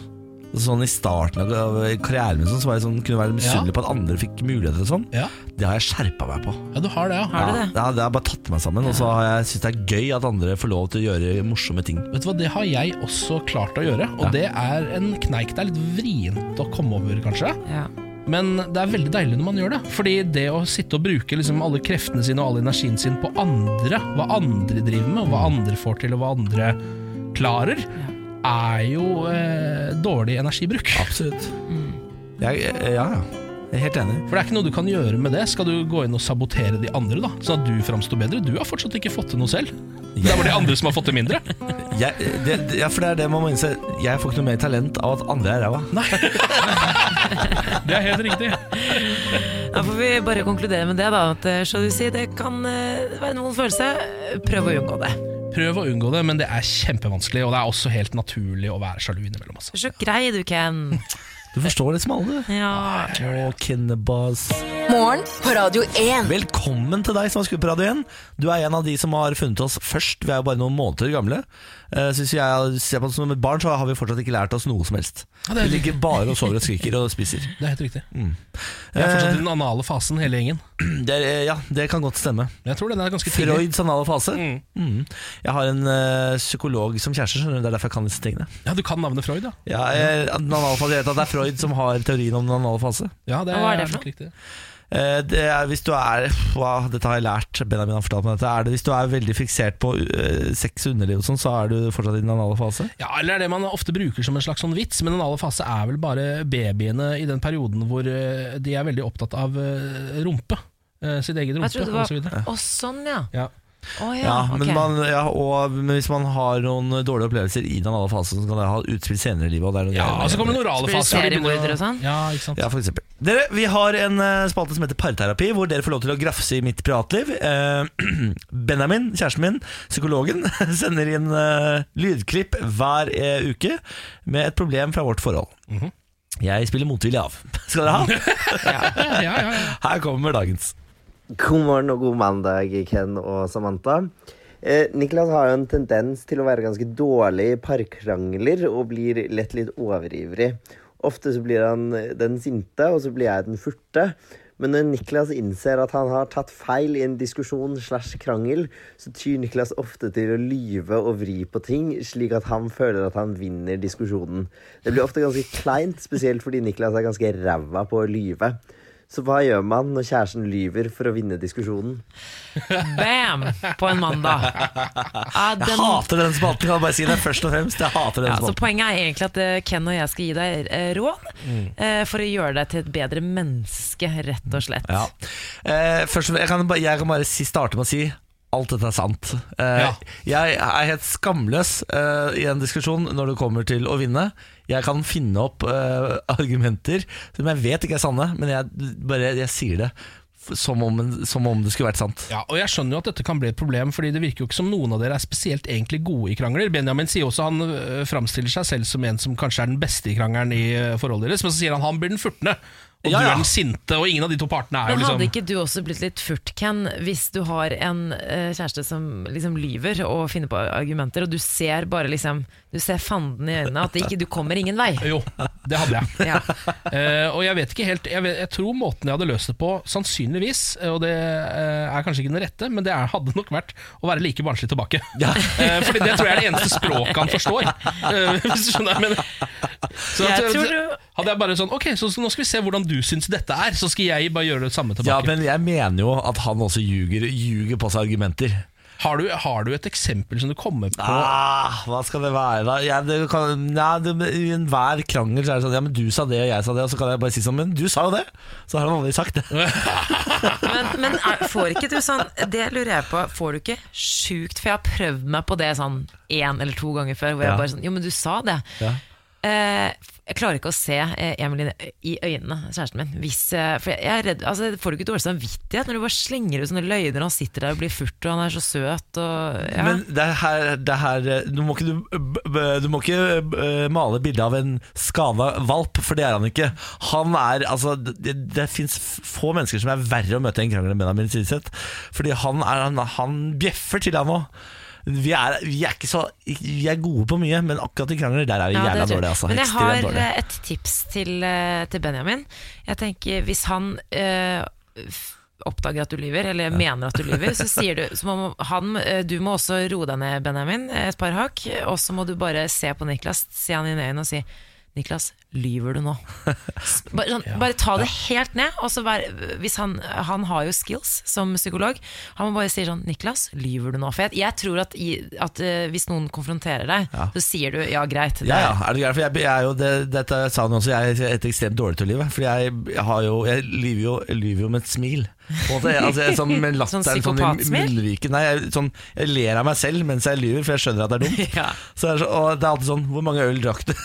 Sånn I starten av- av karrieren min sånn, så var jeg sånn, kunne jeg være misunnelig på at andre fikk muligheter. og sånn Ja, Det har jeg skjerpa meg på. ja du har det, ja. Har du Ja, det? det har jeg bare tatt meg sammen. Og så har jeg syntes det er gøy at andre får lov til å gjøre morsomme ting. Vet du hva, Det har jeg også klart å gjøre, og det er en kneik det er litt vrient å komme over, kanskje. Ja. Men det er veldig deilig når man gjør det. Fordi det å sitte og bruke liksom alle kreftene sine og all energien sin på andre, hva andre driver med, og hva andre får til, og hva andre klarer, er jo eh, dårlig energibruk. Absolutt. Jeg, eh, ja, ja. Jeg er helt enig. For det er ikke noe du kan gjøre med det. Skal du gå inn og sabotere de andre, da? Sånn at du framstår bedre? Du har fortsatt ikke fått til noe selv. Det er bare de andre som har fått til mindre. Jeg, eh, det, det- ja, for det er det man må innse. Jeg får ikke noe mer talent av at andre er ræva. Det er helt riktig. Da får vi bare konkludere med det, da. At eh, sjalusi, det kan eh, være noen følelse. Prøv å unngå det. Prøv å unngå det, men det er kjempevanskelig, og det er også helt naturlig å være sjalu innimellom. Altså. Så grei du, Ken. Du forstår liksom alle, du. Ja. Å, Kinnebas. Morgen på Radio 1. Velkommen til deg som har skutt på Radio 1. Du er en av de som har funnet oss først. Vi er jo bare noen måneder gamle. Eh, Så hvis jeg ser på det som et barn, så har vi fortsatt ikke lært oss noe som helst. Ja, det Vi er ligger bare og sover og skriker og spiser. Det er helt riktig. Jeg er fortsatt i den anale fasen, hele gjengen. Det er, eh, ja, det kan godt stemme. Men jeg tror den er ganske tidlig. Freuds anale fase. Mm. Jeg har en eh, psykolog som kjæreste, skjønner du. Det er derfor jeg kan disse tingene. Ja, du kan navnet Freud, ja. Ja, eh, den anale fase, jeg vet at det er Freud som har teorien om den anale fase. ja det Hva er det for nok riktig. Eh, Eh, Det er, hvis du er wow, Dette har jeg lært, Benjamin har fortalt meg dette. Er det, hvis du er veldig fiksert på eh, sex og underliv og sånn, så er du fortsatt i den anale fase? Ja, eller det man ofte bruker som en slags sånn vits, men den aller fase er vel bare babyene i den perioden hvor eh, de er veldig opptatt av eh, rumpe. eh, Sitt eget Jeg trodde rumpe det og så videre. var Å, sånn, ja. Ja. Å ja, Ja, ok. men, man, ja og, men hvis man har noen dårlige opplevelser i den anale fasen, så kan det ha utspill senere i livet. Og det er noen Ja, greier med- og så kommer den orale Spiller fasen. hvor de begynner å- seriemorder og sånn? Ja, ikke sant? Ja, for eksempel. Dere, vi har en eh, spalte som heter Parterapi, hvor dere får lov til å grafse i mitt privatliv. Eh, Benjamin, kjæresten min, psykologen, sender inn eh, lydklipp hver eh, uke med et problem fra vårt forhold. Mhm. Jeg spiller motvillig av. Skal dere ha? Ja, ja, ja. Her kommer dagens. God morgen og god mandag, Ken og Samantha. Eh, Niklas har jo en tendens til å være ganske dårlig i parkrangler og blir lett litt overivrig. Ofte så blir han eh, den sinte, og så blir jeg den furte. Men når Niklas innser at han har tatt feil i en diskusjon slash krangel, så tyr Niklas ofte til å lyve og vri på ting, slik at han føler at han vinner diskusjonen. Det blir ofte ganske kleint, spesielt fordi Niklas er ganske ræva på å lyve. Så hva gjør man når kjæresten lyver for å vinne diskusjonen? Bam! På en mandag. Ja, Jeg den- hater den spalten, kan jeg bare si det først og fremst. Jeg hater den Ja, så spalten. Poenget er egentlig at eh, Ken og jeg skal gi deg eh, råd eh, for å gjøre deg til et bedre menneske, rett og slett. Ja. Eh, først, og fremst, jeg kan bare, jeg kan bare si, starte med å si Alt dette er sant. Eh, Ja. Jeg er helt skamløs eh, i en diskusjon når det kommer til å vinne. Jeg kan finne opp eh, argumenter som jeg vet ikke er sanne, men jeg, bare, jeg sier det f- som om, en, som om det skulle vært sant. Ja, og jeg skjønner jo at dette kan bli et problem, fordi det virker jo ikke som noen av dere er spesielt egentlig gode i krangler. Benjamin sier også han øh, framstiller seg selv som en som kanskje er den beste i krangelen i øh, forholdet deres, men så sier han han blir den furtne, og Ja, du ja. er den sinte, og ingen av de to partene er jo Men liksom hadde ikke du også blitt litt furt, Ken, hvis du har en eh, kjæreste som liksom lyver og finner på argumenter, og du ser bare liksom Du ser fanden i øynene at ikke, du kommer ingen vei? Jo, det hadde jeg. Ja. Eh, og jeg vet ikke helt jeg, vet, jeg tror måten jeg hadde løst det på, sannsynligvis, eh, og det eh, er kanskje ikke den rette, men det er, hadde nok vært å være like barnslig tilbake. Ja. Eh, fordi det tror jeg er det eneste språket han forstår. Eh, hvis du skjønner hva jeg mener. Så Jeg at- eh, tror du- hadde jeg bare sånn Ok, så nå skal vi se hvordan du syns dette er, så skal jeg bare gjøre det samme Ja, tilbake. men jeg mener jo at han også ljuger, ljuger på seg argumenter. har, du, har du et eksempel som du kommer på? Ah, hva skal det være, da? Jeg, det kan, nei, det, I enhver krangel så er det sånn Ja, men du sa det, og jeg sa det, og så kan jeg bare si sånn Men du sa jo det! Så har han aldri sagt det. Men, men er, får ikke du sånn Det lurer jeg på, får du ikke sjukt For jeg har prøvd meg på det sånn én eller to ganger før, hvor Ja. jeg bare sånn Jo, men du sa det. Ja. Eh, jeg klarer ikke å se eh, Emil i- i øynene, kjæresten min. Hvis, eh, for jeg jeg er redd, altså, får du ikke dårlig samvittighet når du bare slenger ut sånne løgner, og han sitter der og blir furt, og han er så søt og ja. Men det her, det her Du må ikke, du, b- b- du må ikke eh, male bildet av en skada valp, for det er han ikke. Han er, altså, det det fins få mennesker som er verre å møte i en krangel enn Benjamin Silseth. Fordi han, er, han, han bjeffer til, han òg. Vi er, vi er ikke så Vi er gode på mye, men akkurat i krangler der er vi Ja, det tror jævla jeg. dårlige. Altså. Men jeg Ekstremt har dårlige. eh, et tips til, eh, til Benjamin. Jeg tenker Hvis han eh, f- oppdager at du lyver, eller mener at du lyver, så sier du så må han eh, Du må også roe deg ned, Benjamin, eh, et par hakk. Og så må du bare se på Niklas, se han inn i øynene og si Niklas, lyver du nå? S- Bare, sånn, bare ta det helt ned. Og så vær, hvis han, han har jo skills som psykolog. Han må bare si sånn Niklas, lyver du nå? For jeg, jeg tror at, i, at eh, hvis noen konfronterer deg, Ja. så sier du ja, greit. det Ja, er- ja, er det greit? For jeg, jeg er jo, det, dette sa han også, jeg er et ekstremt dårlig til å lyve. Fordi jeg, jeg, har jo, jeg lyver jo, jeg lyver jo med et smil. På en måte. Jeg- altså, jeg, sånn, med latteren, Sånn i psykopatsmil? munnviken. Nei, jeg, sånn, jeg ler av meg selv mens jeg lyver, for jeg skjønner at det er dumt. Ja. Så det er, så, og det er alltid sånn Hvor mange øl drakk du?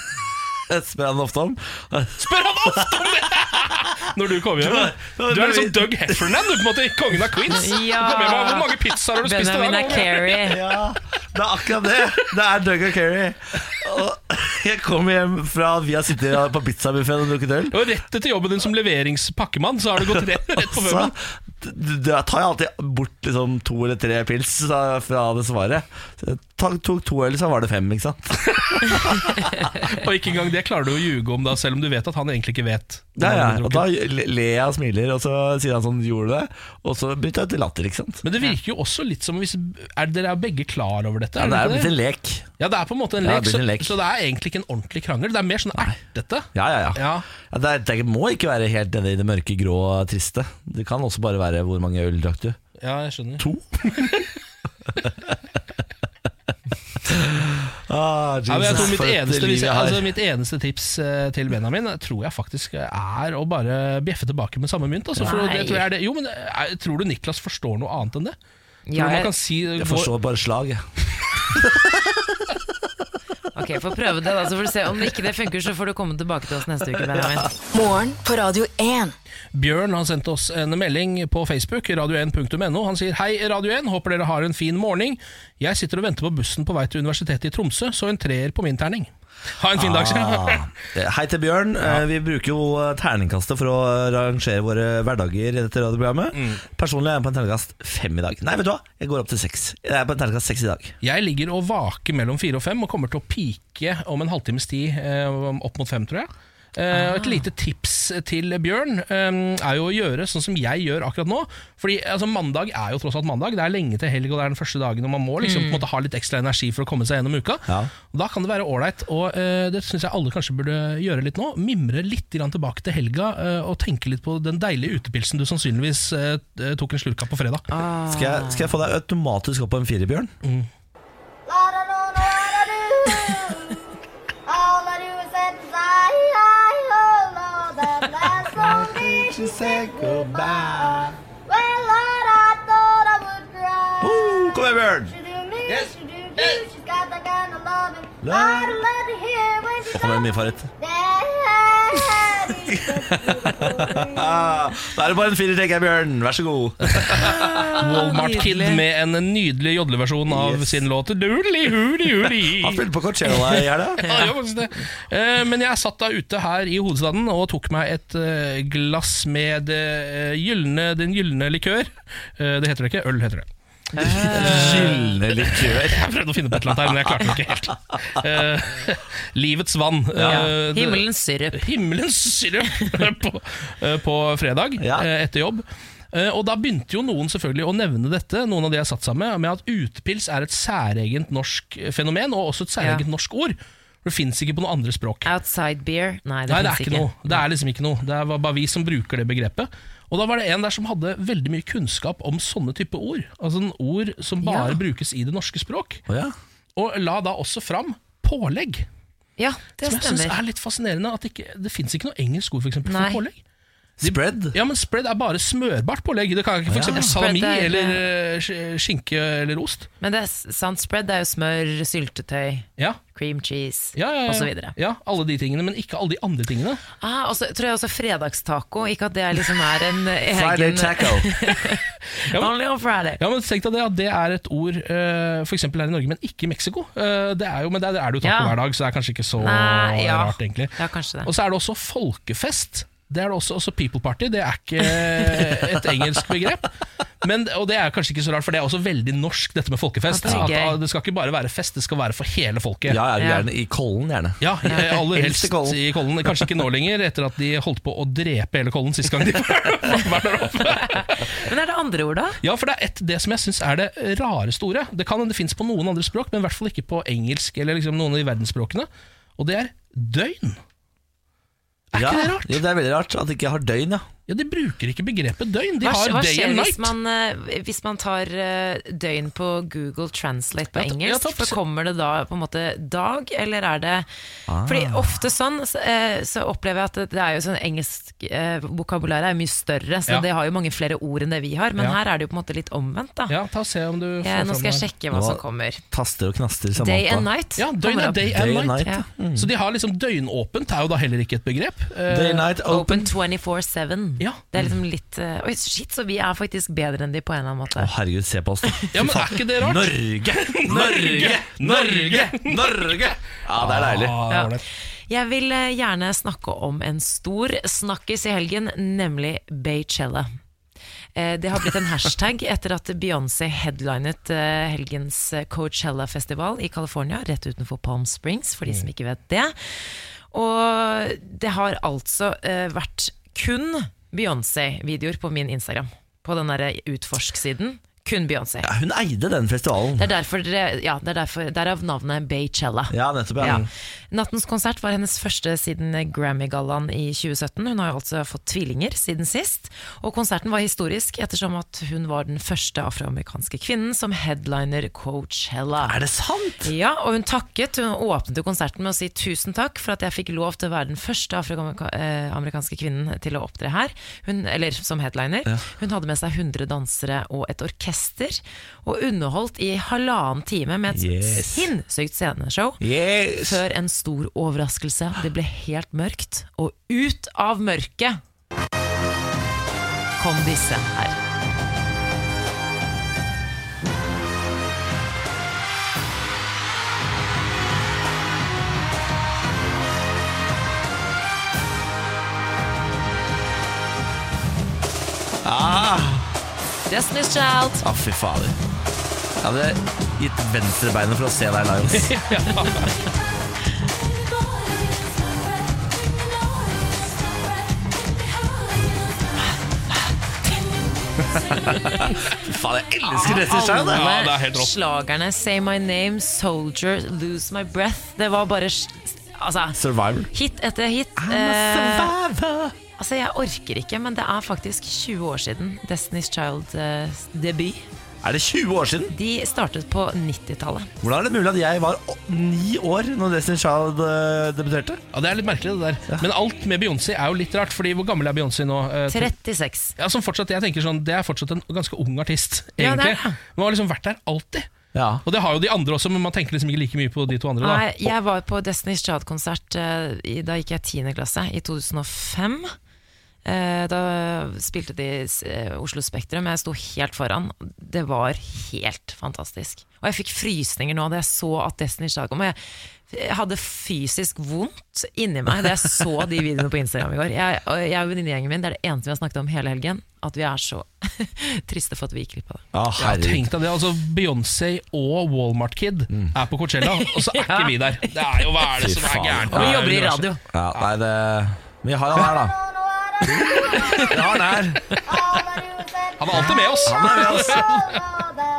Det spør han ofte om. Spør han ofte om det! Når du kommer hjem. da. Du er liksom Doug Heffernan, du, på en måte. Kongen av Queens. Du Ja. kommer hjem, og, Hvor mange pizzaer har du spist i Benjamin dag? er Carrie. Ja, det er akkurat det. Det er Doug og Kerry. Og jeg kommer hjem fra Vi har sittet på pizzabuffeen og drukket øl. Og rett etter jobben din som leveringspakkemann, så har du gått rett, rett på Så, puben. d- d- da tar jeg alltid bort liksom, to eller tre pils da, fra det svaret. Så jeg ta- tok to øl, så var det fem. ikke sant? Og ikke engang det klarer du å ljuge om, da, selv om du vet at han egentlig ikke vet. Ja, ja. Han har Og da drukket. le- ler jeg og smiler, og så sier han sånn 'gjorde du det?' Og så bryter jeg ut i latter, ikke sant. Men det virker jo også litt som hvis er Dere er jo begge klar over dette? Ja, er det er dere blitt ikke en lek. Ja, det er på en måte en Ja, lek, det blir en lek. Så, så det er egentlig ikke en ordentlig krangel. Det er mer sånn ertete. Ja, ja, ja. Ja. Ja, det, er, det må ikke være helt nede i det mørke, grå, triste. Det kan også bare være 'hvor mange øl drakk du'? Ja, jeg skjønner. To? ah, Ja, men jeg tror Jesus, mitt, for et eneste, liv hvis jeg jeg, har. altså, mitt eneste tips eh, til Benjamin eh, tror jeg faktisk er å bare bjeffe tilbake med samme mynt. Altså, for Nei. det tror, jeg er det. Jo, men, eh, tror du Niklas forstår noe annet enn det? Tror Ja, du man jeg- kan si eh, Jeg gå- forstår bare slag. jeg. Ok, Få prøve det, da. Så får du se. Om ikke det funker, så får du komme tilbake til oss neste uke. Benjamin Morgen på Radio 1. Bjørn han sendte oss en melding på Facebook, radio1.no. Han sier hei, Radio 1, håper dere har en fin morgen. Jeg sitter og venter på bussen på vei til universitetet i Tromsø, så en treer på min terning. Ha en fin dag, sier han. Ah. Hei til Bjørn. Eh, Vi bruker jo terningkastet for å eh, rangere våre hverdager i dette radioprogrammet. Personlig er jeg på en terningkast fem i dag. Nei, vet du hva? Jeg går opp til seks. Jeg er på en terningkast seks i dag. Jeg ligger og vaker mellom fire og fem, og kommer til å pike om en halvtimes tid, eh, opp mot fem, tror jeg. Eh, og et lite tips til Bjørn eh, er jo å gjøre sånn som jeg gjør akkurat nå. Fordi altså, Mandag er jo tross alt mandag. Det er lenge til helg, og det er den første dagen, og man må liksom, på en måte, ha litt ekstra energi for å komme seg gjennom uka. Ja. Og Da kan det være ålreit, og eh, det syns jeg alle kanskje burde gjøre litt nå. Mimre litt grann tilbake til helga, eh, og tenke litt på den deilige utepilsen du sannsynligvis eh, tok en slurk av på fredag. Skal jeg, skal jeg få deg automatisk opp på en firer, Bjørn? La da da da da do. All I do is set I I hold on that last lonely she said goodbye. Well, Lord, I thought I would cry. Oh, kom igjen, Bjørn! She do me, she do you. She's got that kind of loving. Love. I'd love to hear when she Nå kommer min favoritt. Daddy, Ah, da er det bare en firer, tenker jeg, Bjørn. Vær så god. Walmart Nydelig. Kid med en nydelig jodleversjon av Yes. sin låt Doodly hoodly Han hoodly. spilte på Coachella i helga. Ja, det var faktisk det. Eh, Men jeg satt da ute her i hovedstaden og tok meg et eh, glass med det, eh, gyllene, den gylne likør. Eh, Det heter det ikke, øl heter det. Gylne likør. Jeg prøvde å finne på et eller annet her, men jeg klarte det ikke helt. Eh, Livets vann. Eh, det- Himmelens syrup. himmelens syrup på, eh, på fredag Ja. eh, etter jobb. Eh, Og Da begynte jo noen selvfølgelig å nevne dette, Noen av de jeg satt sammen med med at utepils er et særegent norsk fenomen, og også et særegent Ja. norsk ord. Det fins ikke på noen andre språk. Outside beer? Nei, det Nei, det fins er ikke. ikke noe. Det er liksom ikke noe. Det er bare vi som bruker det begrepet. Og da var det en der som hadde veldig mye kunnskap om sånne type ord. Altså en ord som bare Ja. brukes i det norske språk. Å ja. Og la da også fram pålegg. Ja, det Som jeg syns stemmer. er litt fascinerende. At det, ikke, det fins ikke noe engelsk ord for, eksempel, Nei. for pålegg. Spread. Ja, men spread er bare smørbart pålegg. Det kan ikke for Ja. eksempel Spread salami er- eller eh, sk- skinke eller ost. Men det er s- sant, spread er jo smør, syltetøy, Ja, cream cheese ja, ja, ja. og så videre ja, alle de tingene, men ikke alle de andre tingene. Ah, og så tror jeg også fredagstaco. Ikke at det er liksom er en egen Friday taco. Ja, men- Only on Friday. Ja, men tenk deg det, at det er et ord eh, for eksempel her i Norge, men ikke i Mexico. Eh, det er jo, men der er det jo taco Ja. hver dag, så det er kanskje ikke så Nei, ja. rart, egentlig. Ja, kanskje Og det. så er det også folkefest. Det er det også, også People Party. Det er ikke eh, et engelsk begrep. Men, og det er kanskje ikke så rart, for det er også veldig norsk, dette med folkefest. Ja, At, det er gøy. ah, det skal ikke bare være fest, det skal være for hele folket. Ja, ja, Ja. gjerne i Kollen, gjerne. Ja, eh, aller Helst helst i Kollen. i Kollen. Kanskje ikke nå lenger, etter at de holdt på å drepe hele Kollen sist gang de var der oppe. Men er det andre ord, da? Ja, for det er et, det som jeg syns er det rareste ordet. Det kan hende det fins på noen andre språk, men i hvert fall ikke på engelsk eller liksom noen av de verdensspråkene. Og det er døgn. Er Ja. ikke det rart? Jo, det er veldig rart at det ikke har døgn, ja. Ja, De bruker ikke begrepet døgn. De Hva, har hva day skjer and hvis night. man, eh, hvis man tar eh, døgn på Google Translate Ja, på ta- ja, engelsk? ta- for kommer det da på en måte dag, eller er det Ah. Fordi ofte sånn så, eh, så opplever jeg at det er jo sånn engelsk eh, vokabular er mye større, så Ja. det har jo mange flere ord enn det vi har. Men Ja. her er det jo på en måte litt omvendt, da. Ja, ta og se om du får Ja, nå fram skal jeg det. sjekke hva Nå- som kommer. Taster og knaster. Samantha. Day and night. Ja, døgn kommer er opp. day Day and and night. night. Ja. Så de har liksom døgnåpent, er jo da heller ikke et begrep. Eh, Day and night Open open. 24-7. Ja. Det er liksom litt eh, Oi, shit, så vi er faktisk bedre enn de på en eller Å, annen måte. herregud, se på oss. da. Ja, men er ikke det rart? Norge, Norge, Norge, Norge! Ja, det er deilig. Ah, Ja. ålreit. Jeg vil eh, gjerne snakke om en stor snakkis i helgen, nemlig Beychella. Eh, Det har blitt en hashtag etter at Beyoncé headlinet eh, helgens Coachella-festival i California, rett utenfor Palm Springs, for de Mm. som ikke vet det. Og det har altså eh, vært kun Beyoncé-videoer på min Instagram. På den derre utforsk-siden. Kun Beyoncé. Ja, hun eide den festivalen. Det er derfor, dere- ja, det er derfor derav navnet Baychella. Ja, nettopp. Ja. Ja. Nattens konsert var hennes første siden Grammy-gallaen i 2017. Hun har jo altså fått tvillinger siden sist. Og konserten var historisk ettersom at hun var den første afroamerikanske kvinnen som headliner Coachella. Er det sant?! Ja, og hun takket. Hun åpnet jo konserten med å si tusen takk for at jeg fikk lov til å være den første afroamerikanske kvinnen til å opptre her, hun, eller som headliner. Hun hadde med seg 100 dansere og et orkester, og underholdt i halvannen time med et Yes. sinnssykt sceneshow. Yes! Før en stor overraskelse. Det ble helt mørkt, og ut av mørket kom disse her. Destiny's Child. Ja, fy fader. Jeg hadde gitt venstrebeinet for å se deg live. ass. Fy faen, jeg elsker Destiny's Child! jeg. Ja, det er helt rått. slagerne Say My Name, Soldier, Lose My Breath Det var bare s- altså, Survivor. hit etter hit. Eh, altså, jeg orker ikke, men det er faktisk 20 år siden Destiny's Child eh, debut. Er det 20 år siden? De startet på 90-tallet. Hvordan er det mulig at jeg var å- ni år når Destiny's Child eh, debuterte? Ja, Det er litt merkelig, det der. Men alt med Beyoncé er jo litt rart, Fordi hvor gammel er Beyoncé nå? Eh, 36. Ja, som fortsatt, jeg tenker sånn Det er fortsatt en ganske ung artist, Ja, det er egentlig. det. Hun har liksom vært der alltid. Ja. Og det har jo de andre også, men man tenker liksom ikke like mye på de to andre. da Nei, jeg var på Destiny's Child-konsert eh, i- da gikk jeg 10. klasse, i 2005. Eh, Da spilte de s- eh, Oslo Spektrum, jeg sto helt foran. Det var helt fantastisk. Og jeg fikk frysninger nå da jeg så at Destiny's Child kom. Og jeg jeg hadde fysisk vondt inni meg da jeg så de videoene på Instagram i går. Jeg, og jeg og venninnegjengen min, det er det eneste vi har snakket om hele helgen. At vi er så triste for at vi gikk glipp av det. Ja, Ja, herregud. tenk deg det, altså Beyoncé og Walmart Kid Mm. er på Coachella, og så er ikke vi der. Det er jo hva er det Fy som er altså. faen. gærent? Ja, Vi med jobber i universet? radio. Ja, nei, det Men jeg har han her, da. Jeg har han her. Han er alltid med oss. Han er med oss.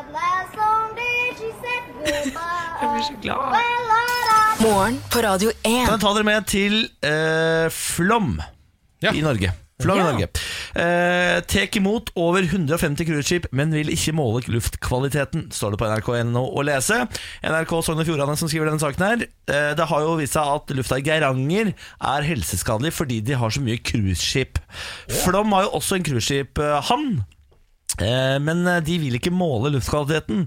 Jeg blir så glad. Morgen på Radio 1. Kan jeg ta dere med til eh, Flom Ja. i Norge. Flom i Ja. Norge. Eh, Tek imot over 150 cruiseskip, men vil ikke måle luftkvaliteten, står det på nrk.no å lese. NRK Sogn og Fjordane som skriver denne saken her. Eh, det har jo vist seg at lufta i Geiranger er helseskadelig fordi de har så mye cruiseskip. Flom har jo også en cruiseskiphavn, eh, men eh, de vil ikke måle luftkvaliteten.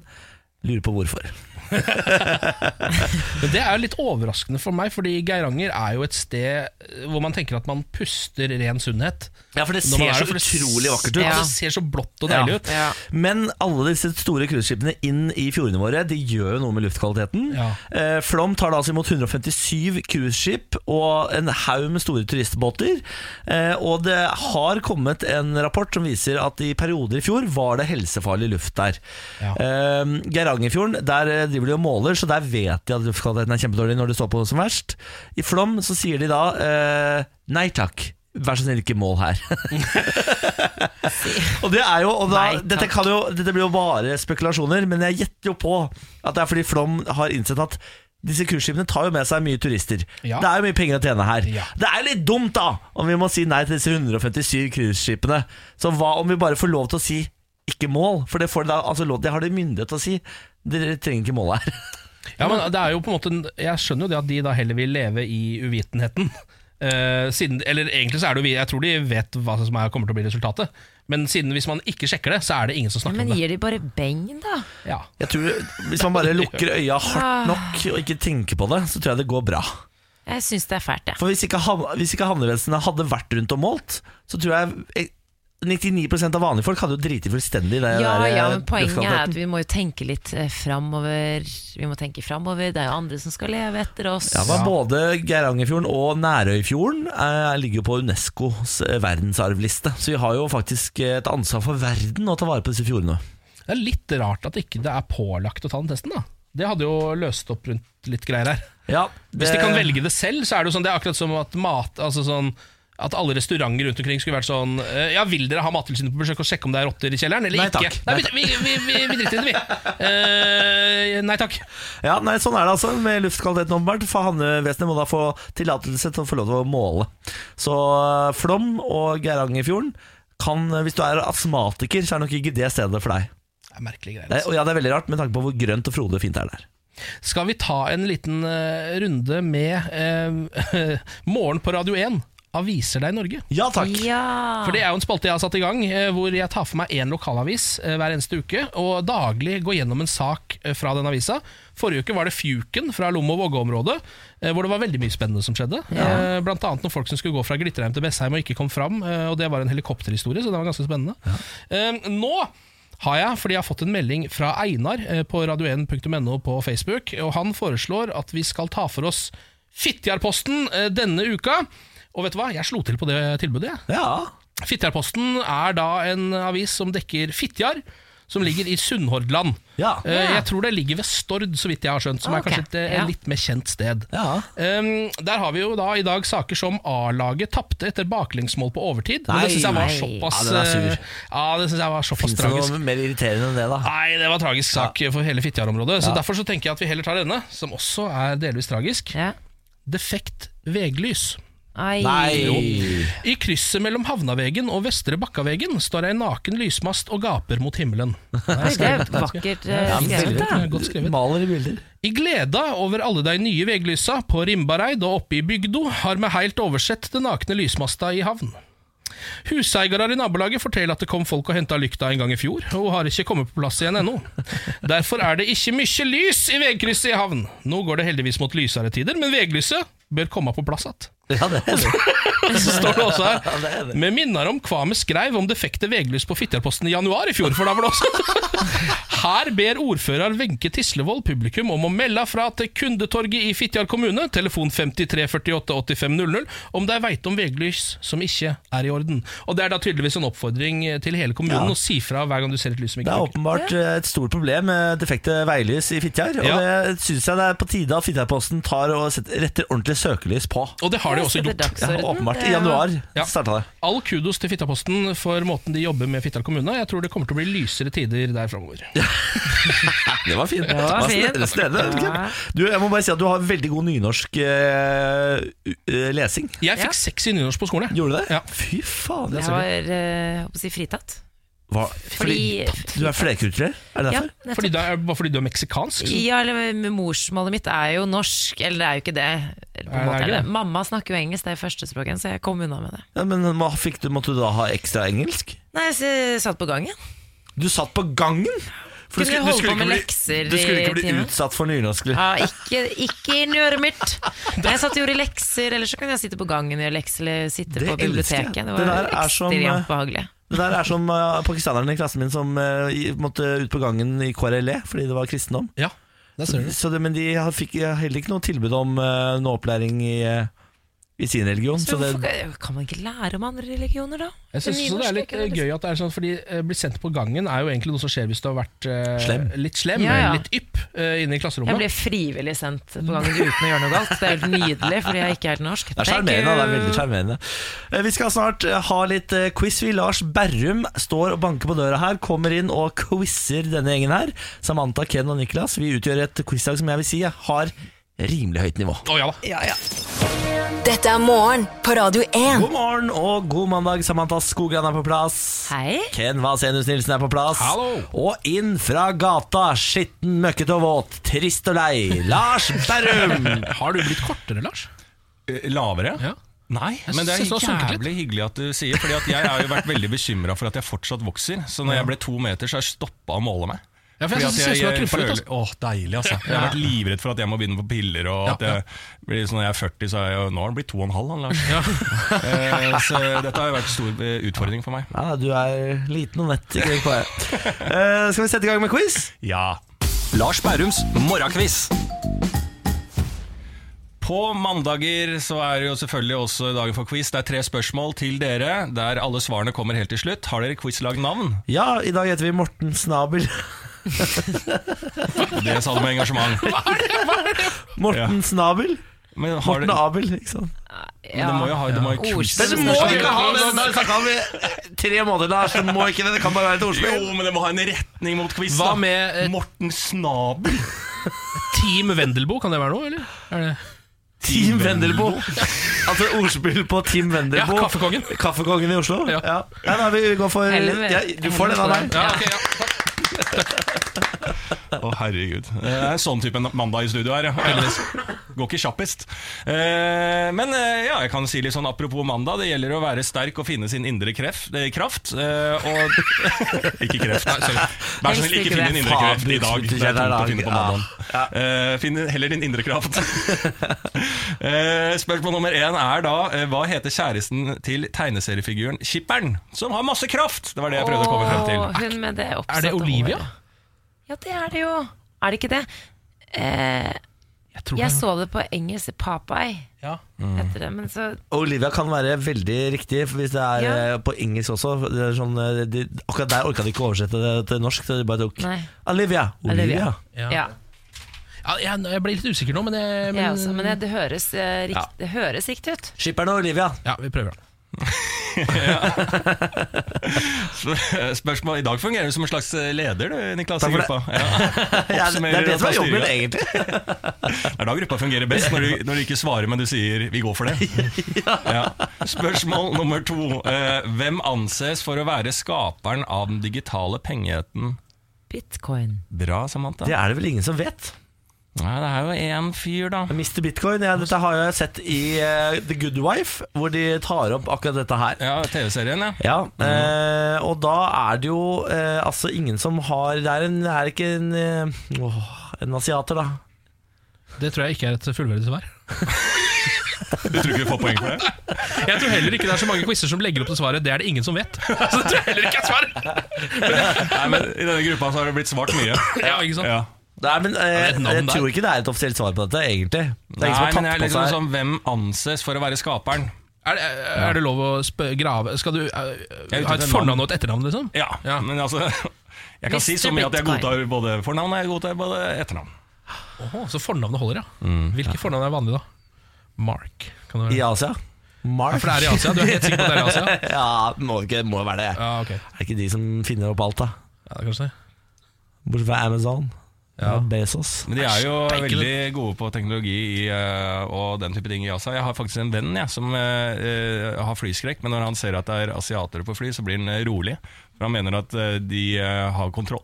Lurer på hvorfor. Men Det er jo litt overraskende for meg, fordi Geiranger er jo et sted eh, hvor man tenker at man puster ren sunnhet. Ja, for det Når man ser er så der, for det utrolig vakkert ut. Ja. Det ser så blått og Ja. deilig ut. Ja. Men alle disse store cruiseskipene inn i fjordene våre De gjør jo noe med luftkvaliteten. Ja. Eh, Flom tar da altså imot 157 cruiseskip og en haug med store turistbåter. Eh, og det har kommet en rapport som viser at i perioder i fjor var det helsefarlig luft der. Ja. Eh, Geirangerfjorden, der eh, driver de og måler, så der vet de at luftkvaliteten er kjempedårlig når det står på som verst. I Flom så sier de da eh, nei takk. Vær så snill, ikke mål her. og det er jo, og da, Nei, takk. dette kan jo, dette blir jo bare spekulasjoner, men jeg gjetter jo på at det er fordi Flom har innsett at disse cruiseskipene tar jo med seg mye turister. Ja. Det er jo mye penger å tjene her. Ja. Det er jo litt dumt, da, om vi må si nei til disse 157 cruiseskipene. Så hva om vi bare får lov til å si ikke mål? For det, får de da, altså, lov- det har de myndighet til å si. Dere trenger ikke måle her. Ja, men det er jo på en måte en- Jeg skjønner jo det at de da heller vil leve i uvitenheten. Eh, siden, eller egentlig så er det jo vi Jeg tror de vet hva som er, kommer til å bli resultatet. Men siden hvis man ikke sjekker det, så er det ingen som snakker Men om det. gir de bare beng, da? Ja. Jeg tror, Hvis man bare lukker øya Ah. hardt nok og ikke tenker på det, så tror jeg det går bra. Jeg syns det er fælt, jeg. For hvis ikke, ham- hvis ikke havnevesenet hadde vært rundt og målt, så tror jeg eh, 99 av vanlige folk hadde jo driti fullstendig i det. Ja, der, eh, ja, men poenget er at luftkvaliteten. vi må jo tenke litt eh, framover. Vi må tenke framover. Det er jo andre som skal leve etter oss. ja, men Både Geirangerfjorden og Nærøyfjorden eh, ligger jo på Unescos eh, verdensarvliste. Så vi har jo faktisk eh, et ansvar for verden å ta vare på disse fjordene. Det er litt rart at ikke det er pålagt å ta den testen, da. Det hadde jo løst opp rundt litt greier her. Ja, Eh, Hvis de kan velge det selv, så er det jo sånn Det er akkurat som at mat Altså sånn at alle restauranter rundt omkring skulle vært sånn eh, Ja, vil dere ha Mattilsynet på besøk og sjekke om det er rotter i kjelleren, eller Nei, ikke? takk. Nei, vi, vi, vi, vi driter i det, vi. Eh, nei takk. Ja, nei, Sånn er det altså med luftkvaliteten. åpenbart For Havnevesenet må da få tillatelse til å få lov til å måle. Så eh, Flom og Geirangerfjorden kan eh, Hvis du er astmatiker, så er nok ikke det stedet for deg. Det er merkelige greier. Det altså. er, og ja, det er veldig rart med tanke på hvor grønt og frodig og fint det er der. Skal vi ta en liten eh, runde med eh, Morgen på Radio 1, aviser deg i Norge? Ja takk! Ja. For det er jo en spalte jeg har satt i gang, eh, hvor jeg tar for meg én lokalavis eh, hver eneste uke, og daglig går gjennom en sak eh, fra den avisa. Forrige uke var det Fjuken fra Lom og Vågå-området, eh, hvor det var veldig mye spennende som skjedde. Eh, Blant annet noen folk som skulle gå fra Glitterheim til Bessheim og ikke kom fram, eh, og det var en helikopterhistorie, så det var ganske spennende. Eh, Nå har jeg, fordi jeg har fått en melding fra Einar eh, på radio1.no på Facebook, og han foreslår at vi skal ta for oss Fittjarposten eh, denne uka. Og vet du hva, jeg slo til på det tilbudet, jeg. Ja, Fittjarposten er da en avis som dekker Fittjar, som ligger i Sunnhordland. ja, Eh, Jeg tror det ligger ved Stord, så vidt jeg har skjønt, som Ok, er kanskje et, eh, ja. litt mer kjent sted. ja. Um, der har vi jo da i dag saker som A-laget tapte etter baklengsmål på overtid. Men Nei, det syns jeg var nei. såpass Ja, den er sur. eh, Ja, det synes jeg var såpass Fins det tragisk. noe mer irriterende enn det, da? Nei, det var en tragisk sak for hele Fitjar-området. Så Ja. Derfor så tenker jeg at vi heller tar denne, som også er delvis tragisk. ja. Defekt veglys. Ai. Nei! I krysset mellom Havnavegen og Vestre Bakkavegen står ei naken lysmast og gaper mot himmelen. Oi, Det er vakkert eh, Ja, men skrevet, veldig. da. Godt skrevet. Maler i bilder. I gleda over alle de nye veglysa på Rimbareid og oppe i Bygdo har vi heilt oversett den nakne lysmasta i havn. Huseiere i nabolaget forteller at det kom folk og henta lykta en gang i fjor, og har ikke kommet på plass igjen ennå. Derfor er det ikke mye lys i vegkrysset i havn. Nå går det heldigvis mot lysere tider, men veglyset bør komme på plass igjen. Ja, det er det. Så står det også Ja, det er her det. Med minner om hva vi skreiv om defekte veglys på Fitjarposten i januar i fjor, for da var det også Her ber ordfører Wenche Tislevold publikum om å melde fra til Kundetorget i Fitjar kommune, telefon 53 48 85 00, om de veit om veglys som ikke er i orden. Og det er da tydeligvis en oppfordring eh, til hele kommunen Ja. å si fra hver gang du ser et lys som Det ikke er funker. åpenbart eh, et stort problem med defekte veilys i Fitjar. Og Ja. det syns jeg det er på tide at Fitjarposten tar og setter, retter ordentlig søkelys på. Og det har de også Setter gjort. Ja, dagsorden. åpenbart. Det er I jo- januar Ja. starta det. All kudos til Fittaposten for måten de jobber med Fitjar kommune. Jeg tror det kommer til å bli lysere tider der framover. Det var fint. var fint. Resten er det. Ja. Du, jeg må bare si at du har veldig god nynorsk eh, u- eh, lesing. Jeg fikk Ja. seks i nynorsk på skolen. jeg. Gjorde du det? Ja. Fy faen. Jeg Jeg var eh, jeg håper å si fritatt. Hva? Fordi- Fordi du er flerkulturell? Er det Ja, derfor? nettopp. Fordi du er, bare fordi du er meksikansk? så- ja, eller eh, men morsmålet mitt er jo norsk, eller det er jo ikke det. eller På Nei, det er en ikke måte, er det. det. Mamma snakker jo engelsk, det er førstespråket, så jeg kom unna med det. Ja, men hva fikk du, Måtte du da ha ekstra engelsk? Nei, så jeg satt på gangen. Du satt på gangen! For Kunne holde på med lekser du skulle ikke i bli timen. utsatt for nynorsk. eller? Ja, ikke, ikke inn i øret mitt! Jeg satt og gjorde lekser, eller så kunne jeg sitte på gangen og gjøre lekser, eller sitte Det elsker på jeg. biblioteket. Det Det var der er som, eh, ekstremt behagelig. Det der er som eh, pakistaneren i klassen min som eh, i- måtte ut på gangen i KRLE E fordi det var kristendom. Ja, der ser du. Så det, men de har- fikk heller ikke noe tilbud om eh, noe opplæring i, eh, i sin religion. Så Så det, hvorfor kan man ikke lære om andre religioner, da? Jeg synes Men også det er nynorsk litt ikke eh, gøy at det er sånn, fordi eh, bli sendt på gangen er jo egentlig noe som skjer hvis du har vært eh, Slem. litt slem, Ja, ja. litt ypp, eh, inne i Jeg klasserommet. ble frivillig sendt på gangen uten å gjøre noe galt. Det er helt nydelig, fordi jeg ikke er helt norsk. Det er sjarmerende. det er veldig sjarmerende. Eh, Vi skal snart eh, ha litt eh, quiz. Vi Lars Berrum står og banker på døra her, kommer inn og quizer denne gjengen her. Samantha, Ken og Niklas. Vi utgjør et quizlag som jeg vil si har rimelig høyt nivå. Å ja da. Dette er morgen på Radio 1. God morgen og god mandag. Samantha Skogran er på plass. Hei. Ken Vasenius Nilsen er på plass. Hallo. Og inn fra gata, skitten, møkkete og våt, trist og lei, Lars Berrum. Har du blitt kortere, Lars? Eh, Lavere? Ja. Nei, Jeg men det er synes det har sunket jævlig hyggelig at du sier Fordi at jeg har jo vært veldig bekymra for at jeg fortsatt vokser. Så når jeg ble to meter, så har jeg stoppa å måle meg. Ja, for Fordi jeg at synes jeg, jeg, jeg trumfa litt. føler- Åh, deilig, altså. Jeg har vært livredd for at jeg må begynne på piller. Og at Ja, ja. jeg blir sånn, Når jeg er 40, så er jeg, jo- nå har han blitt to og en halv, han Lars. Eh, så dette har jo vært en stor eh, utfordring for meg. Ja, du er liten og nett. Ikke hva jeg. Eh, skal vi sette i gang med quiz? Ja. Lars Bærums morgenquiz. På mandager så er det jo selvfølgelig også dagen for quiz. Det er tre spørsmål til dere, der alle svarene kommer helt til slutt. Har dere quizlag navn? Ja, i dag heter vi Morten Snabel. Det sa du med engasjement. Morten Snabel? Men har Morten dere, Abel, ikke sant? Men det må jo ha det må ha quiz. Ordspill. Dere må ikke ha det! Nå har vi snakka om i tre måneder, Lars. Dere må ikke det. Det kan bare være et ordspill. Jo, men det må ha en retning mot quiz. Hva da. med eh, Morten Snabel? Team Vendelbo, kan det være noe, eller? Er det? Team Vendelbo. Altså ordspill på Team Vendelbo. Ja, Kaffekongen. Kaffekongen i Oslo? Ja. Nei, nei, vi går for Eller- ja, Du får den av meg. Ja, ok, ja. takk. Å, herregud. Det er en sånn type mandag i studio her, ja. Heldigvis. Går ikke kjappest. Eh, Men eh, ja, jeg kan si litt sånn apropos mandag. Det gjelder å være sterk og finne sin indre kref, eh, kraft. eh, Og Ikke kreft. Vær så snill, Helst ikke ikke finn din det. indre kreft i dag. Det er tungt å finne Ja. på mandagen. Eh, Finn heller din indre kraft. Eh, Spørsmål nummer én er da eh, hva heter kjæresten til tegneseriefiguren Skipperen, som har masse kraft? Det var det jeg prøvde å komme frem til. Åh, hun med det oppsatte Er det Olivia? håret. Ja, det er det jo. Er det ikke det? Eh, Jeg tror jeg det. så det på engelsk. Papeye Ja. heter det. Men så Olivia kan være veldig riktig for hvis det er Ja. eh, på engelsk også. Det er sånn, eh, de, akkurat der orka de ikke oversette det til norsk, så de bare tok Nei. Olivia. Olivia. Olivia. Ja. Ja. Ja, jeg, jeg ble litt usikker nå, men, jeg, men jeg også, men det, det, høres, eh, rikt, Ja. det høres riktig ut. Skipperen og Olivia. Ja, vi prøver det. Sp- Spørsmål I dag fungerer du som en slags eh, leder, du, Niklas. i Takk for det. gruppa. Ja. Ja, det er det som er jobben, Oppsummerer at egentlig. Det er da gruppa fungerer best, når du, når du ikke svarer, men du sier 'vi går for det'. Ja. Spørsmål nummer to. Eh, hvem anses for å være skaperen av den digitale pengeheten? Bitcoin. Bra, Samantha. Det er det vel ingen som vet. Nei, det er jo én fyr, da. Mr. Bitcoin, ja, dette har jeg sett i eh, The Good Wife, hvor de tar opp akkurat dette her. Ja, TV-serien, ja. Ja, eh, og da er det jo eh, altså ingen som har Det er, en, det er ikke en eh, åh, en asiater, da. Det tror jeg ikke er et fullverdig svar. Du tror ikke du får poeng for det? Jeg tror heller ikke det er så mange quizer som legger opp til svaret. Det er det ingen som vet. Så det tror jeg heller ikke er et svar. Nei, men I denne gruppa så har det blitt svart mye. Ja, ikke sant? Ja. Nei, men eh, et navn Jeg der. tror ikke det er et offisielt svar på dette, egentlig. Det er ingen som Nei, har men tatt jeg er på liksom seg sånn, Hvem anses for å være skaperen? Er, det, er det lov å spø grave Skal du eh, Jeg er ha ute etter et navn. fornavn og et etternavn, liksom? Ja, men altså Jeg kan si så Mr. mye at jeg Bitcoin. godtar både fornavn og jeg godtar både etternavn. Åhå, så fornavnet holder, ja. Mm. Hvilke fornavn er vanlige, da? Mark. Kan det I være? Asia? Mark? Ja, for det er i Asia? Du er helt sikker på at det er i Asia? ja, må ikke, må jo være det. Ja, ok. Er det ikke de som finner opp alt, da? Ja, det kan du si. Bortsett fra Amazon. Ja. Bezos. Men de er jo Steike, du. veldig gode på teknologi i, eh, og den type ting i Asia. Jeg har faktisk en venn jeg, som eh, eh, har flyskrekk, men når han ser at det er asiatere på fly, så blir han eh, rolig. For han mener at eh, de eh, har kontroll.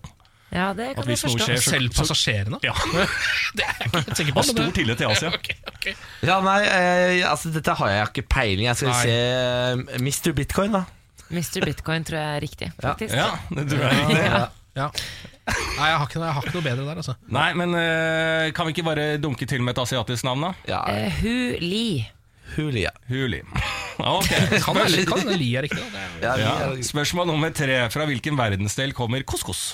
Ja, det kan At hvis jeg noe forstå. skjer, så- Selv passasjerene? Ja, Det er jeg ikke helt sikker på. Har men stor det- tillit til Asia. Ok, ok. Ja, nei, eh, altså dette har jeg ikke peiling. Jeg skal Nei. se eh, Mr. Bitcoin, da. Mr. Bitcoin tror jeg er riktig, faktisk. Ja, det tror jeg. er riktig. Ja. Nei, jeg har, ikke, jeg har ikke noe bedre der, altså. Nei, men eh, kan vi ikke bare dunke til med et asiatisk navn, da? Ja, Eh, Hu Li. Hulia. Huli. Ok, Kan spørs- være- kan hende Li er riktig. da. Det er Ja, ja. vi er- Spørsmål nummer tre. Fra hvilken verdensdel kommer couscous?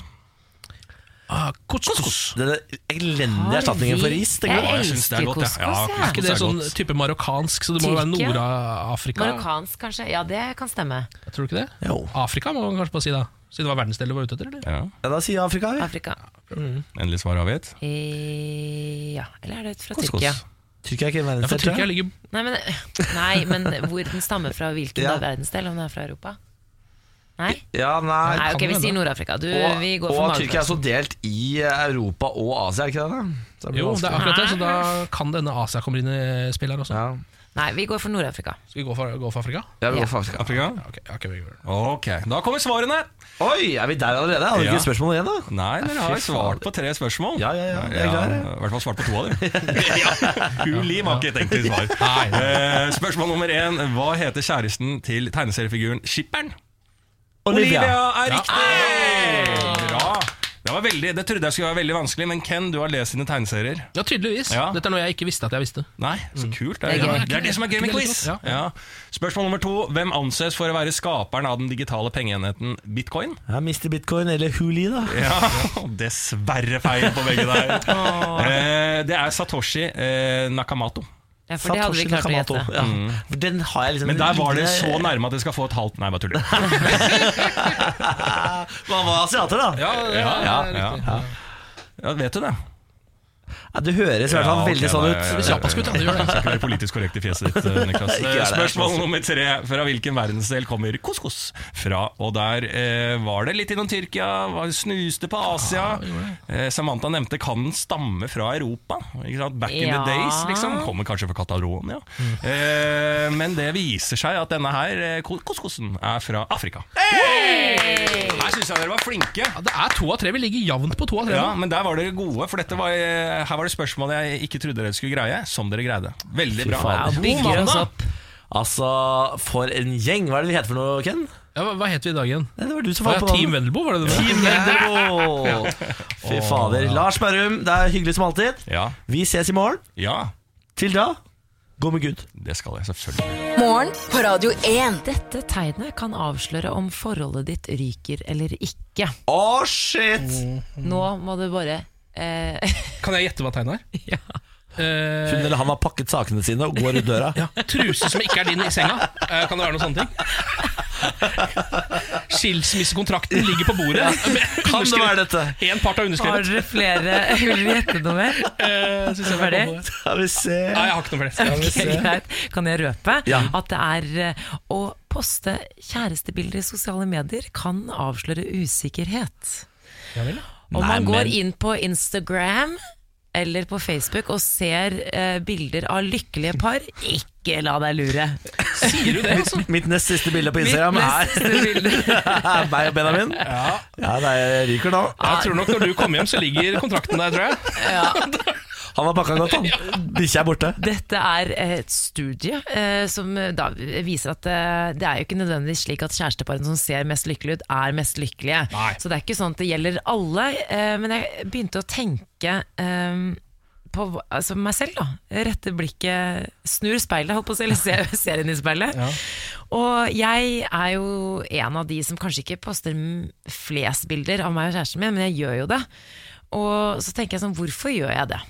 Ah, couscous. Den elendige erstatningen for ris. tenker Jeg jeg. jeg synes det er elsker godt, ja. couscous. Ja, Er Ja, ikke couscous det er sånn godt. type marokkansk, så det må jo være Tyrkia? Nord-Afrika? Marokkansk, kanskje. Ja, det kan stemme. Tror du ikke det? Jo. Afrika må man kanskje bare si da, siden det var verdensdelen du var ute etter? eller? Ja, Ja, da sier jeg Afrika. vi. Afrika. Endelig svar avgitt. Eh, Ja, eller er det fra Couscous. Tyrkia? Tyrkia er ikke en Ja, for verdensdel. tror Tyrkia jeg. ligger Nei men, nei, men hvor den stammer fra, hvilken Ja. da verdensdel, om den er fra Europa? Nei? Ja, nei. Nei, ok, kan vi hende. sier Nord-Afrika. Du, Og, Eh, vi går for og Tyrkia er magefølelsen. så delt i Europa og Asia, er ikke det? Da? Så blir Jo, det er vanskelig. akkurat det, så da kan denne Asia komme inn i spill her også. ja. Nei, vi går for Nord-Afrika. Skal vi gå for, gå for Afrika? Ja, vi går for Afrika. Afrika? Ja, ok, ja, ok, vi gjør det. Ok, da kommer svarene. Oi, er vi der allerede? Hadde vi Ja. ikke spørsmål igjen, da? Nei, dere har fy svart på tre spørsmål. Ja, ja, ja, jeg er klar, jeg. I hvert fall svart på to av dem. ja. Huli var ikke et enkelt svar. Nei, nei. Eh, spørsmål nummer én. Hva heter kjæresten til tegneseriefiguren Skipperen? Olivia. er riktig! Bra. Det var veldig, det trodde jeg skulle være veldig vanskelig, men Ken, du har lest dine tegneserier. Ja, tydeligvis. Ja. Dette er noe jeg ikke visste at jeg visste. Nei, så Det kult. Mm. Det er, er det, gøy. er, det som er gøy med Ikke quiz. veldig godt, Ja. Spørsmål nummer to. Hvem anses for å være skaperen av den digitale pengeenheten bitcoin? Ja, Mr. Bitcoin, eller Huli, da. Ja, Dessverre feil på begge der. Eh, det er Satoshi eh, Nakamato. Ja, for det hadde vi Satoshi klart å Nakamoto. gjette. Ja. For Den har jeg liksom Men der var det så nærme at jeg skal få et halvt Nei, bare tuller. Man var asiater, da. Ja. ja, ja. Ja, vet du det? det høres i hvert fall Ja, ok, veldig sånn nei, ut. ja, Det er kjappast ut, ja, det gjør det. Skal ikke være politisk korrekt i fjeset ditt, eh, Niklas. Ikke gjør det. altså. Spørsmål nummer tre. Fra hvilken verdensdel kommer couscous fra? Og der eh, var det litt innom Tyrkia, var snuste på Asia. Eh, Samantha nevnte kan den stamme fra Europa? Ikke sant? Back in Ja. the days, liksom. Kommer kanskje fra Catalonia. Eh, men det viser seg at denne her, eh, cous- couscousen, er fra Afrika. Her syns jeg dere var flinke. Ja, det er to av tre. Vi ligger jevnt på to av tre. Ja, nå. men der var dere gode, for dette var, eh, her var det spørsmål jeg ikke trodde dere skulle greie, som dere greide. Veldig bra. faen. God Bygger oss mandag! opp. Altså, for en gjeng. Hva er det vi heter for noe, Ken? Ja, hva- hva het vi i dag igjen? Nei, det var du som Var falt det på Team Vendelbo? Var det det? Team Vendelbo! Fy fader. Lars Berrum, det er hyggelig som alltid. Ja, Vi ses i morgen. ja, Til da, gå med Gud. det skal jeg selvfølgelig. Morgen på Radio 1. Dette tegnet kan avsløre om forholdet ditt ryker eller ikke. Å, shit! Nå må du bare eh, Kan jeg gjette hva tegnet er? ja. Hun Eh, eller han har pakket sakene sine og går ut døra. ja. Truse som ikke er din i senga. Eh, kan det være noen sånne ting? Skilsmissekontrakten ligger på bordet. Kan det være dette? Én part har Har underskrevet. dere flere Vil dere gjette noe mer? Eh, synes jeg var Ferdig? god. Skal vi se Nei, jeg har ikke noe flere. Ok, greit. Kan jeg røpe Ja. at det er eh, å poste kjærestebilder i sosiale medier kan avsløre usikkerhet. Om Nei, man men- går inn på Instagram eller på Facebook og ser eh, bilder av lykkelige par, ikke la deg lure. Sier du det, altså? Mitt nest siste bilde på Instagram er meg og Benjamin. Ja, nei, jeg ryker nå. Jeg tror nok når du kommer hjem, så ligger kontrakten der, tror jeg. Han har pakka godt, han. Bikkja er borte. Dette er et studie eh, som da viser at eh, det er jo ikke nødvendigvis slik at kjæresteparene som ser mest lykkelige ut, er mest lykkelige. Så det er ikke sånn at det gjelder alle. eh, men jeg begynte å tenke eh, på hva- altså meg selv, da. Rette blikket, snur speilet, holdt på å si, eller ser, ser inn i speilet. Og jeg er jo en av de som kanskje ikke poster m- flest bilder av meg og kjæresten min, men jeg gjør jo det. Og så tenker jeg sånn, hvorfor gjør jeg det?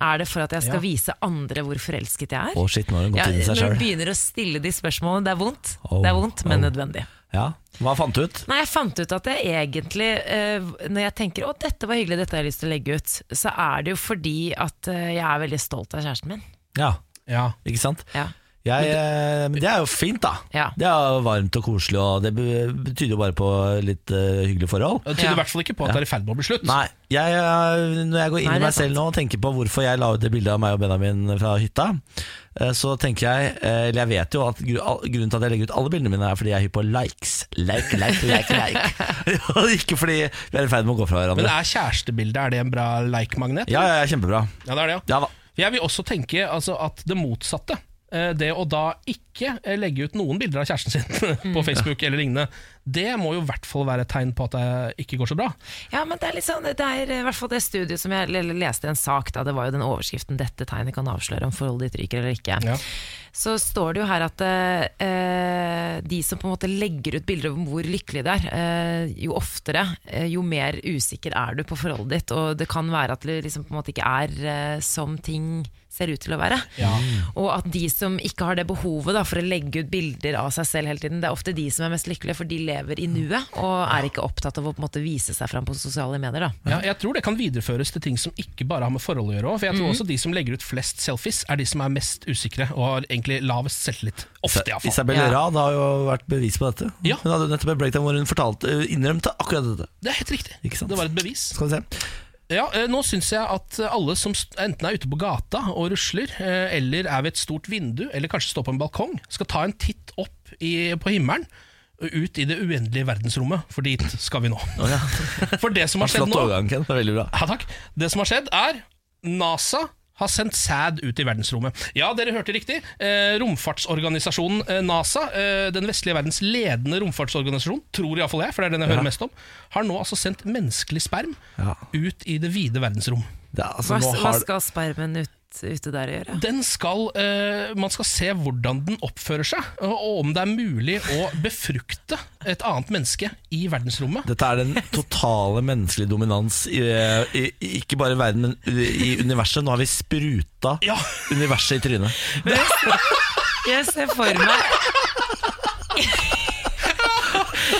Er det for at jeg skal vise andre hvor forelsket jeg er? Å, shit, nå har hun gått Ja, inn i seg når du sjøl. begynner å stille de spørsmålene, det er vondt. Oh, det er vondt, men oh. nødvendig. Ja. Hva fant du ut? Nei, jeg fant ut at jeg egentlig, eh, når jeg tenker å dette var hyggelig, dette har jeg lyst til å legge ut, så er det jo fordi at eh, jeg er veldig stolt av kjæresten min. Ja, Ja. ikke sant? Ja. Jeg, eh, men det er jo fint, da. Ja. Det er jo varmt og koselig, og det be- betyder jo bare på litt eh, hyggelige forhold. Det tyder Ja. i hvert fall ikke på at det er i ferd med å bli slutt. Nei, jeg, eh, når jeg går inn Nei, i det er meg selv sant. nå og tenker på hvorfor jeg la ut det bildet av meg og Benjamin fra hytta, eh, så tenker jeg, eh, eller jeg vet jo at gru- all- grunnen til at jeg legger ut alle bildene mine er fordi jeg er hypp på likes. Like, like, like, like. Og ikke fordi vi er i ferd med å gå fra Men hverandre. er kjærestebildet er det en bra like-magnet? Ja, ja, ja, kjempebra. Ja, det er det, ja. Ja da. Jeg vil også tenke altså, at det motsatte eh, det å da ikke eh, legge ut noen bilder av kjæresten sin Mm. på Facebook eller lignende, det må jo i hvert fall være et tegn på at det ikke går så bra. Ja, men det er litt sånn, det er i hvert fall det studiet som jeg l- leste i en sak, da, det var jo den overskriften 'Dette tegnet kan avsløre om forholdet ditt ryker eller ikke'. Ja. Så står det jo her at eh, de som på en måte legger ut bilder om hvor lykkelig det er, eh, jo oftere, eh, jo mer usikker er du på forholdet ditt, og det kan være at det liksom på en måte ikke er eh, som ting ser ut til å være. Og at de som ikke har det behovet da, for å legge ut bilder av seg selv hele tiden, det er ofte de som er mest lykkelige, for de lever i nuet og er ikke opptatt av å på en måte vise seg fram på sosiale medier. Da. Ja, jeg tror det kan videreføres til ting som ikke bare har med forhold å gjøre. også, For jeg Mhm. tror også de som legger ut flest selfies, er de som er mest usikre og har egentlig lavest selvtillit. Ofte, iallfall. Isabel Ja. Rad har jo vært bevis på dette. Ja. Hun hadde jo nettopp et breakdown hvor hun fortalte, eh, innrømte akkurat dette. Det er helt riktig. Ikke sant? Det var et bevis. Skal vi se. Ja, eh, nå syns jeg at alle som st- enten er ute på gata og rusler, eh, eller er ved et stort vindu, eller kanskje står på en balkong, skal ta en titt opp i, på himmelen. og Ut i det uendelige verdensrommet, for dit skal vi nå. For det som har skjedd Flott nå overgang, Ken. Det var Veldig bra. ja, takk. Det som har skjedd, er NASA har sendt sæd ut i verdensrommet. Ja, dere hørte riktig. Eh, romfartsorganisasjonen eh, NASA, eh, den vestlige verdens ledende romfartsorganisasjon, tror iallfall jeg, for det er den jeg hører mest om, har nå altså sendt menneskelig sperm Ja. ut i det vide verdensrom. Det er, altså, Hva, nå hva har, skal spermen ut, ute der gjøre? Den skal, eh, man skal se hvordan den oppfører seg, og, og om det er mulig å befrukte et annet menneske i verdensrommet. dette er den totale menneskelige dominans, i, i, i- ikke bare i verden, men i universet. Nå har vi spruta Ja. universet i trynet. Jeg ser for meg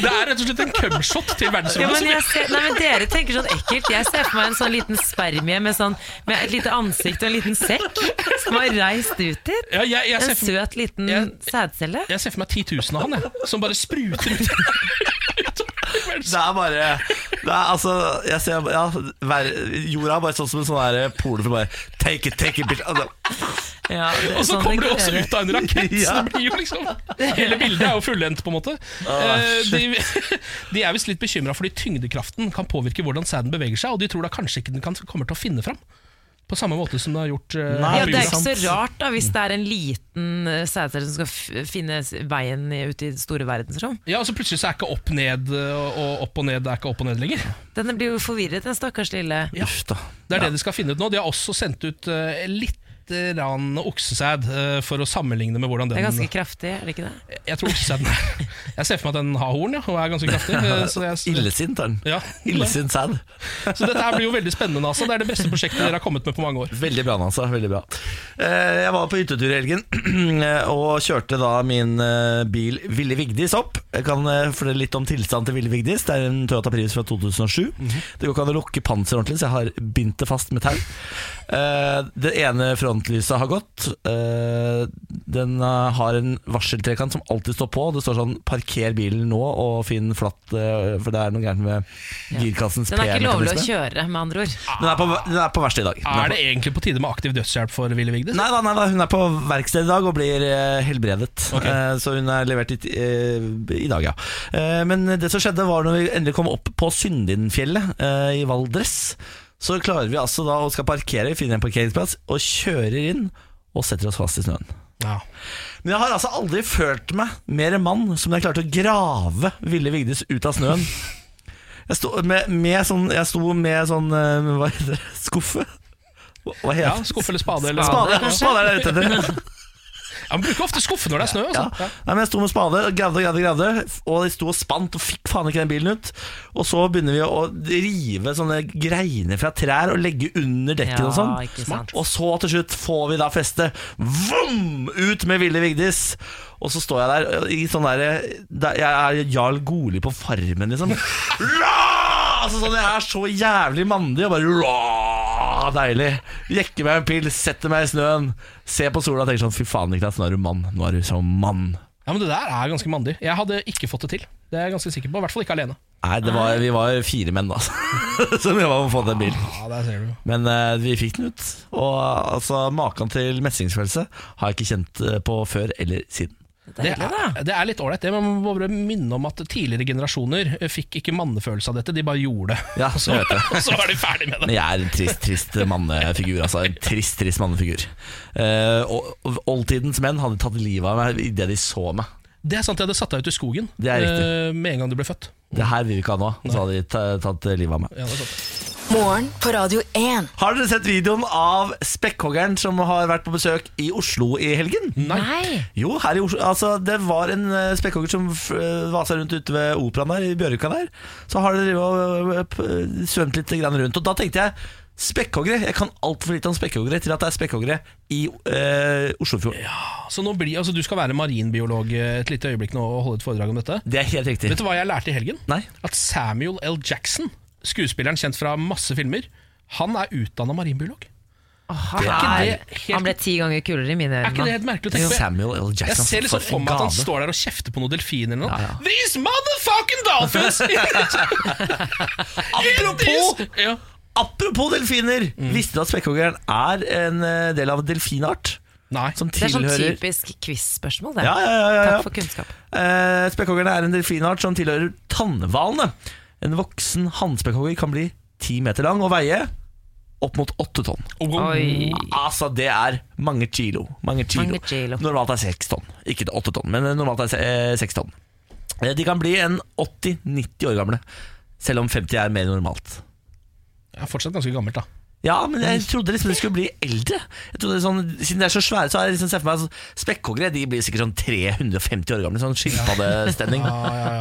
Det er rett og slett en cumshot til ja, verdensrommet. men som vi- jeg ser, Nei, men dere tenker sånn ekkelt. Jeg ser for meg en sånn liten spermie med, sånn, med et lite ansikt og en liten sekk som har reist ut dit. Ja, jeg, jeg, En ser for, søt liten Jeg- sædcelle. jeg ser for meg 10 000 av han, jeg, som bare spruter ut. ut av Det verdensrommet. er bare det er, altså, jeg ser, ja, ver, Jorda er bare sånn som en sånn der pole for bare Take it, take it, bitch. Altså, Ja, det er Og så sånn kommer det det også gjøre. ut av en rakett! Så Ja. det blir jo liksom Hele bildet er jo fullendt, på en måte. Ah, Eh, de, de er visst litt bekymra fordi tyngdekraften kan påvirke hvordan sæden beveger seg, og de tror da kanskje ikke den kan, kommer til å finne fram. På samme måte som det har gjort eh, Nei, her Ja, på det er jorda. ikke så rart da hvis det er en liten eh, sædcelle som skal f finne s- veien i- ut i det store verdensrom. Ja, og så plutselig så er ikke opp ned eh, og og opp og ned er ikke opp og ned lenger. Den blir jo forvirret, den stakkars lille. Uff da. Det er det de skal finne ut nå. De har også sendt ut eh, litt rann oksesæd eh, for å sammenligne med hvordan Det den er ganske kraftig, er det ikke det? Jeg tror oksesæden er Jeg ser for meg at den har horn ja, og er ganske kraftig. eh, Så, jeg, Illesint er den. ja. Illesint sad. så dette her blir jo veldig spennende. Altså. Det er det beste prosjektet dere har kommet med på mange år. Veldig bra, Nasa. Veldig bra. Eh, Jeg var på hyttetur i helgen eh, og kjørte da min eh, bil Ville Vigdis opp. Jeg kan eh, fortelle litt om tilstanden til Ville Vigdis. Det er en Toyota Prius fra 2007. Mhm. Det går ikke an å lukke panseret ordentlig, så jeg har bindt det fast med tau. Eh, Det ene frontlyset har gått. Eh, Den eh, har en varseltrekant som alltid står på. Det står sånn 'parker bilen nå og finn flatt', eh, for det er noe gærent med girkassens Den er ikke lovlig å P-mekanisme. kjøre, med andre ord. Den er på, den er på verste i dag. Den på- Er det egentlig på tide med aktiv dødshjelp for Ville Vigdis? Nei, da, nei da, hun er på verksted i dag og blir eh, helbredet. Ok. Eh, så hun er levert i, t- eh, i dag, ja. Eh, men det som skjedde var når vi endelig kom opp på Syndinfjellet eh, i Valdres, så klarer vi altså da å skal parkere, vi finner en parkeringsplass og kjører inn og setter oss fast i snøen. Ja. Men jeg har altså aldri følt meg mer mann som da jeg klarte å grave Ville Vigdis ut av snøen. Jeg sto med, med sånn, jeg sto med sånn eh, Hva heter det? Skuffe? Hva hva Ja, heter det? skuffe eller spade? Eller Spade, Ja. spade er det jeg er ute etter. Ja, man bruker ofte skuffe når det er snø. Ja. Altså. Nei, men jeg sto med spade og gravde og gravde, gravde og de sto og spant og fikk faen ikke den bilen ut. Og så begynner vi å rive sånne greiner fra trær og legge under dekken Ja, og sånn. ikke sant. Og så til slutt får vi da feste Vom! ut med Ville Vigdis. Og så står jeg der i sånn der, der Jeg er Jarl Goli på Farmen, liksom. Ra! Altså sånn, Jeg er så jævlig mandig og bare ra! Deilig. Jekker meg en pils, setter meg i snøen, ser på sola og tenker sånn Fy faen, Niklas, nå er du mann. Nå er du som mann. Ja, men Det der er ganske mandig. Jeg hadde ikke fått det til. Det er jeg ganske sikker på, I hvert fall ikke alene. Nei, det var, vi var fire menn da som jobba med å få den bilen. Ja, der ser du Men eh, vi fikk den ut. Og altså, maken til mestringsfølelse har jeg ikke kjent eh, på før eller siden. Det er, det er litt ålreit, det. men Man må bare minne om at tidligere generasjoner eh, fikk ikke mannefølelse av dette, de bare gjorde det. Ja, og, så, jeg vet det. og så var de ferdig med det. Men jeg er en trist, trist mannefigur. Altså, en trist, trist mannefigur. Eh, og- og Oldtidens menn hadde tatt livet av meg idet de så meg. Det er sant, de hadde satt deg ut i skogen Det er riktig. eh, med en gang du ble født. Det her vil vi ikke ha nå. Så hadde de ta- tatt livet av meg. Ja, det er sant. Morgen på Radio 1. Har dere sett videoen av spekkhoggeren som har vært på besøk i Oslo i helgen? Nei! Jo, her i Oslo Altså, det var en eh, spekkhogger som f- eh, vasa rundt ute ved operaen der, i Bjørvika der. Så har det drevet og eh, p- svømt litt grann rundt. Og da tenkte jeg Spekkhoggere? Jeg kan altfor lite om spekkhoggere til at det er spekkhoggere i eh, Oslofjorden. Så nå blir, altså, Du skal være marinbiolog eh, et lite øyeblikk nå og holde et foredrag om dette. Det er helt riktig. Vet du hva jeg lærte i helgen? Nei. At Samuel L. Jackson, skuespilleren kjent fra masse filmer, han er utdanna marinbiolog. Han, ikke er, det helt- han ble ti ganger kulere i mine Er ikke det øyne. helt merkelig å tenke på? Samuel L. Jeg Jackson. ser liksom for for en meg at han gave. står der og kjefter på noen delfiner eller noe. Ja, ja. These motherfucking dolphins! Apropos- Ja. Apropos delfiner! Mm. Visste du at spekkhoggeren er en eh, del av en delfinart? Nei. Som Det er sånn tilhører typisk quiz-spørsmål, det. Ja, ja, ja, ja, ja. Takk for kunnskap. Eh, Spekkhoggerne er en delfinart som tilhører tannhvalene. En voksen hannspekkhogger kan bli ti meter lang og veie opp mot åtte tonn. Oi. Altså, det er mange kilo. Mange kilo. Mange kilo. Normalt er seks tonn. Ikke åtte tonn, men normalt er se- eh, seks tonn. Eh, De kan bli en 80-90 år gamle, selv om 50 er mer normalt. Jeg er fortsatt ganske gammelt, da. Ja, men jeg trodde liksom de skulle bli eldre. Jeg trodde sånn, Siden de er så svære, så har jeg liksom sett for meg sånn, Spekkhoggere de blir sikkert sånn 350 år gamle. Sånn skilpaddestemning.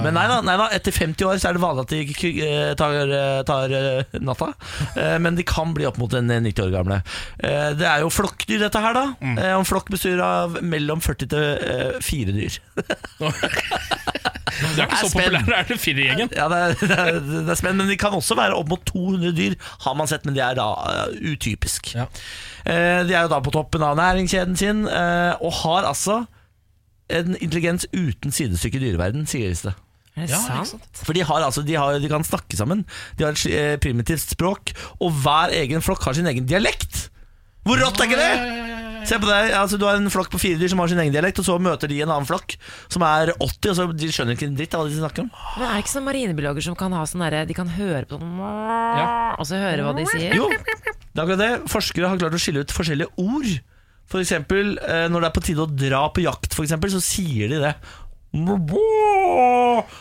Men nei da, nei da, etter 50 år så er det vanlig at de ikke ku- eh, tar, eh, tar eh, natta. Eh, Men de kan bli opp mot en eh, 90 år gamle. Eh, Det er jo flokkdyr, dette her, da. Eh, Og en flokk bestyr av mellom 40 til eh, fire dyr. Dere er ikke så Jeg er spent. populære, er det firergjengen? Ja, det er, det er, det er spennende, men de kan også være opp mot 200 dyr, har man sett, men det er da eh, utypisk. Ja. Eh, de er jo da på toppen av næringskjeden sin, eh, og har altså en intelligens uten sidestykke i dyreverden, sier det. Er det Ja, ikke sant? For de, har, altså, de, har, de kan snakke sammen, de har et sli- eh, primitivt språk, og hver egen flokk har sin egen dialekt. Hvor rått er ikke det? Se på deg, altså Du har en flokk på fire dyr som har sin egen dialekt, og så møter de en annen flokk som er 80, og så de skjønner ikke en dritt av hva de snakker om. Men er det ikke sånn marinebiologer som kan ha sånn derre De kan høre på sånn Og så høre hva de sier? Jo, det er akkurat det. Forskere har klart å skille ut forskjellige ord. For eksempel, eh, når det er på tide å dra på jakt, for eksempel, så sier de det.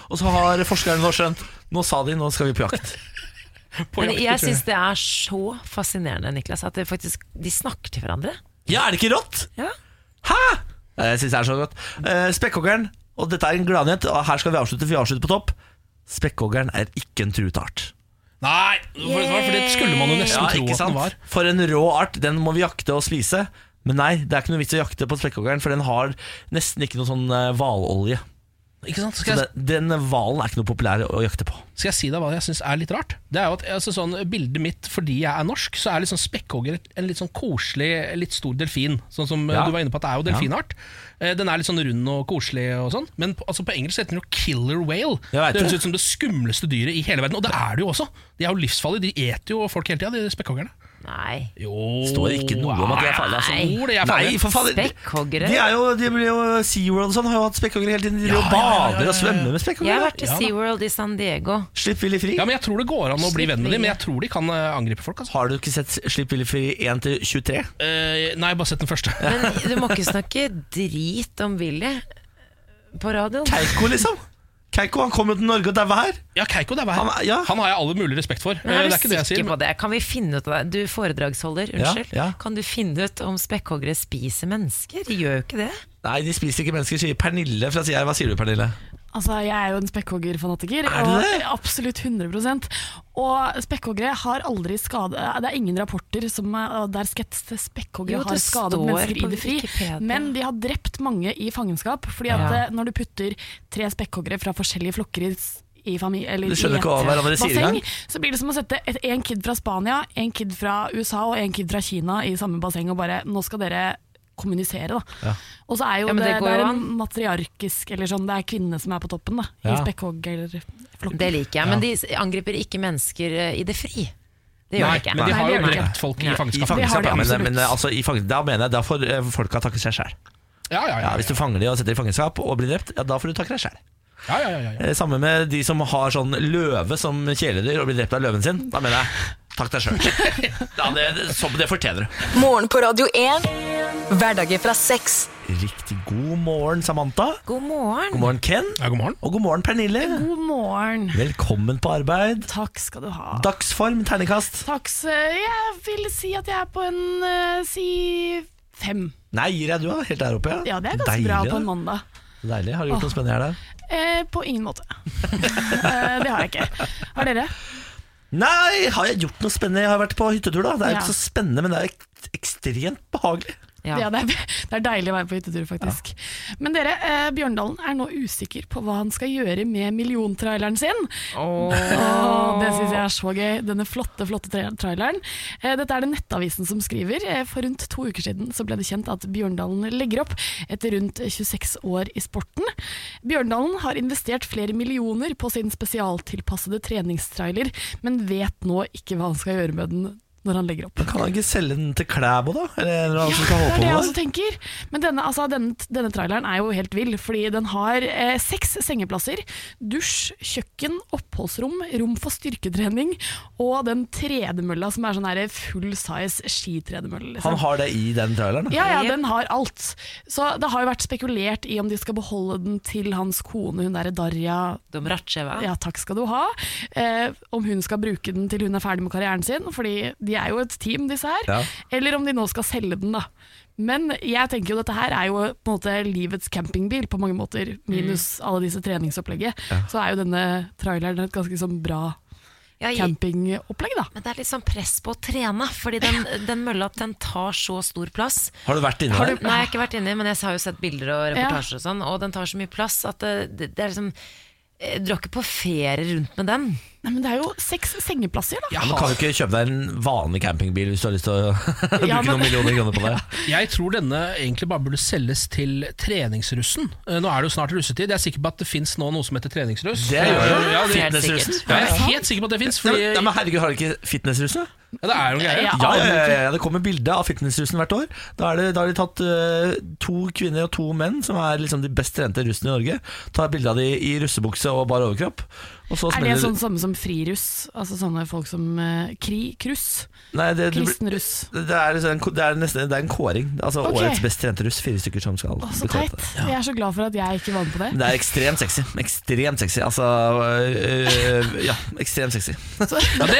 Og så har forskerne nå skjønt Nå sa de, nå skal vi på jakt. På Men jakt, tror jeg jeg. syns det er så fascinerende, Niklas, at det faktisk, de snakker til hverandre. Ja, er det ikke rått? Ja. Hæ? Eh, Jeg syns det er så rått. Eh, Spekkhoggeren, og dette er en gladnyhet, og her skal vi avslutte, for vi avslutter på topp. Spekkhoggeren er ikke en truet art. Nei, for, for det skulle man jo nesten Ja, ikke tro at den sant? var. For en rå art, den må vi jakte og spise. Men nei, det er ikke noe vits å jakte på spekkhoggeren, for den har nesten ikke noe sånn eh, hvalolje. Ikke sant? Så Skal jeg, den, den hvalen er ikke noe populær å jakte på. skal jeg si deg hva jeg syns er litt rart? Det er jo at altså, sånn, Bildet mitt fordi jeg er norsk, så er liksom spekkhogger et- en litt sånn koselig, litt stor delfin. Sånn som eh, Ja. du var inne på at det er jo delfinart. Eh, Den er litt sånn rund og koselig og sånn. Men på, altså, på engelsk heter den jo killer whale. Jeg vet Det høres det. ut som det skumleste dyret i hele verden. Og det er det jo også. De er jo livsfarlige. De eter jo folk hele tida, de spekkhoggerne. Nei. Jo Står ikke noe om at de er farlige. Altså. Jo, de er farlige. Nei, for faen, de- Spekkhoggere? De, er jo, de blir jo SeaWorld og sånn, har jo hatt spekkhoggere hele tiden. De driver Ja, og ja, ja, ja, bader ja, ja. og svømmer med Jeg har spekkhoggere. vært i SeaWorld i San Diego. Slipp Willy fri. Ja, men Jeg tror det går an å bli venn med dem, men jeg tror de kan eh, angripe folk. Altså. Har du ikke sett Slipp Willy fri 1 til 23? Eh, nei, bare sett den første. Men du må ikke snakke drit om Willy på radioen. Keiko, liksom. Keiko han kom jo til Norge og daua her. Ja, Keiko det er Han han, er- ja. han har jeg all mulig respekt for. Men Eh, er det du er ikke det sikker jeg sier. Men, på det? Kan vi finne ut av det? Du foredragsholder, Ja, unnskyld. ja. Kan du finne ut om spekkhoggere spiser mennesker? De gjør jo ikke det. Nei, de spiser ikke mennesker, sier Pernille fra Sierra. Hva sier du, Pernille? Altså, Jeg er jo en spekkhoggerfanatiker. Er du og- det? Absolutt 100 Og spekkhoggere har aldri skade eh, Det er ingen rapporter som, eh, der skets- Jo, spekkhoggere har det skadet står mennesker i på det fri. Wikipedia. Men de har drept mange i fangenskap. Fordi at Ja. eh, når du putter tre spekkhoggere fra forskjellige flokker i s- i fami- eller Du skjønner i ikke hva et hverandre sier basseng, engang. Så blir det som å sette et, en kid fra Spania, en kid fra USA og en kid fra Kina i samme basseng og bare Nå skal dere kommunisere, da. Og så er jo Ja, men det, det det, går jo er en an. matriarkisk eller sånn, Det er kvinnene som er på toppen, da. I Ja. spekkhoggerflokken. Det liker jeg. Men de angriper ikke mennesker eh, i det fri. Det gjør nei, de ikke. men de Nei, har det jo gjør de drept folk i I fangenskap. Det fangenskap, ja, har de men, absolutt. men altså, i fang, da mener jeg da får eh, folka takke seg sjæl. Ja, ja, ja, Ja, hvis du fanger de og setter i fangenskap og blir drept, ja, da får du takke deg sjæl. ja, ja, ja, ja, ja. Eh, Samme med de som har sånn løve som kjæledyr og blir drept av løven sin. Da mener jeg takk deg sjøl. Ja, det, det- så- det fortjener du. Morgen på Radio 1. Hverdager fra seks. Riktig god morgen, Samantha. God God morgen. morgen, Ken. ja god morgen. Og god morgen, Pernille. God morgen. Velkommen på arbeid. Takk skal du ha. Dagsform, terningkast. Takk. så- Jeg vil si at jeg er på en eh, si fem. Nei, gir jeg du er helt der oppe, ja. Ja, det er ganske bra på en mandag. Deilig. Har du gjort noe spennende her, da? Eh, på ingen måte. eh, det har jeg ikke. Har dere? Nei, har jeg gjort noe spennende? Jeg har vært på hyttetur, da. Det er jo Ja. ikke så spennende, men det er ek ekstremt behagelig. Ja. Ja. det, er, det er deilig å være på hyttetur, faktisk. Men dere, eh, Bjørndalen er nå usikker på hva han skal gjøre med milliontraileren sin. Åh, det syns jeg er så gøy. Denne flotte flotte tra traileren. Eh, dette er det Nettavisen som skriver. Eh, for rundt to uker siden så ble det kjent at Bjørndalen legger opp etter rundt 26 år i sporten. Bjørndalen har investert flere millioner på sin spesialtilpassede treningstrailer, men vet nå ikke hva han skal gjøre med den når han legger opp. Kan han ikke selge den til Klæbo, da? Eller en eller annen som skal holde Det er på det jeg med også tenker. Men denne, altså, denne, denne traileren er jo helt vill, fordi den har eh, seks sengeplasser, dusj, kjøkken, oppholdsrom, rom for styrketrening og den tredemølla som er sånn her full size skitredemølle. det? Han har det i den traileren? Ja, ja, den har alt. Så det har jo vært spekulert i om de skal beholde den til hans kone, hun derre Darja Domratjeva. ja, takk skal du ha. Eh, om hun skal bruke den til hun er ferdig med karrieren sin, fordi de er jo et team, disse her. Ja. Eller om de nå skal selge den, da. Men jeg tenker jo dette her er jo på en måte livets campingbil på mange måter, Mm. minus alle disse treningsopplegget. Så er jo denne traileren et ganske sånn bra Ja, i- campingopplegg, da. men det er litt sånn press på å trene, fordi den, den mølla den tar så stor plass. Har du vært inne der? Nei, jeg har ikke vært inni, men jeg har jo sett bilder og reportasjer og sånn, og den tar så mye plass at det, det, det er liksom eh, Du drar ikke på ferie rundt med den. Nei, men det er jo seks sengeplasser, da. Ja, men kan du ikke kjøpe deg en vanlig campingbil hvis du har lyst til å bruke Ja, men- noen millioner kroner på det? Jeg tror denne egentlig bare burde selges til treningsrussen. Eh, Nå er det jo snart russetid. Jeg er sikker på at det fins nå noe som heter treningsruss. Det gjør Eh, ja, det. Helt sikkert. Jeg er helt sikker på at det fins, Nei, fordi men- nei, men herregud, har du ikke fitnessrusen? da? Ja, det er jo en greie. Ja. Ja, ja, ja, ja, det kommer bilde av fitnessrussen hvert år. Da, er det, da har de tatt eh, to kvinner og to menn, som er liksom de best trente russene i Norge. Tar bilde av de i russebukse og bar overkropp. Og så Er det smeller sånn samme som friruss? Altså sånne folk som eh, kri, kruss? Nei, det, det, Kristen russ? det, er, liksom en, ko- det, er nesten, det er en kåring. Altså Ok. årets best trente russ. Fire stykker som skal Å, så bli kåret. teit. Jeg er så glad for at jeg ikke var med på det. Men Det er ekstremt sexy. Ekstremt sexy. Altså øh, øh, Ja, ekstremt sexy. Ja, det,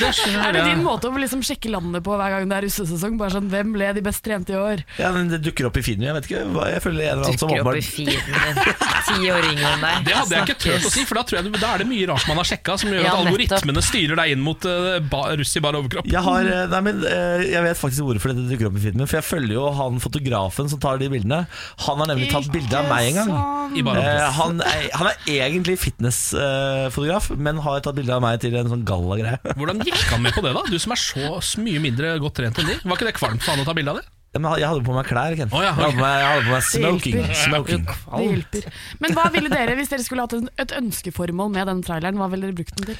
det skjønner Er det jeg. din måte å liksom sjekke landet på hver gang det er russesesong? Bare sånn, Hvem ble de best trente i år? Ja, men Det dukker opp i feeden min. Jeg vet ikke hva jeg føler en eller annen som Dukker opp i åpenbart feeden din. Tiåringen der. Det hadde jeg ikke turt å Snakkes. si, for da, tror jeg, da er det mye rart man har sjekka som gjør Ja, at nettopp. algoritmene styrer deg inn mot eh, ba, russ i bar overkropp. jeg, har, øh, nei, men, øh, jeg vet faktisk hvorfor det dukker opp i feeden min. For jeg følger jo han fotografen som tar de bildene. Han har nemlig tatt bilde av meg en gang. I bar Eh, overkropp. han, er, han er egentlig fitnessfotograf, men har tatt bilde av meg til en sånn gallagreie. Hvordan gikk han med på det, da? Du som er så s- mye mindre godt trent enn de. Var ikke det kvalmt for han å ta bilde av det? Men jeg hadde på meg klær, Ken. Å, ja, jeg, hadde på meg, jeg hadde på meg smoking. hjelper. smoking. Det hjelper. Men hva ville dere, hvis dere skulle hatt en- et ønskeformål med den traileren, hva ville dere brukt den til?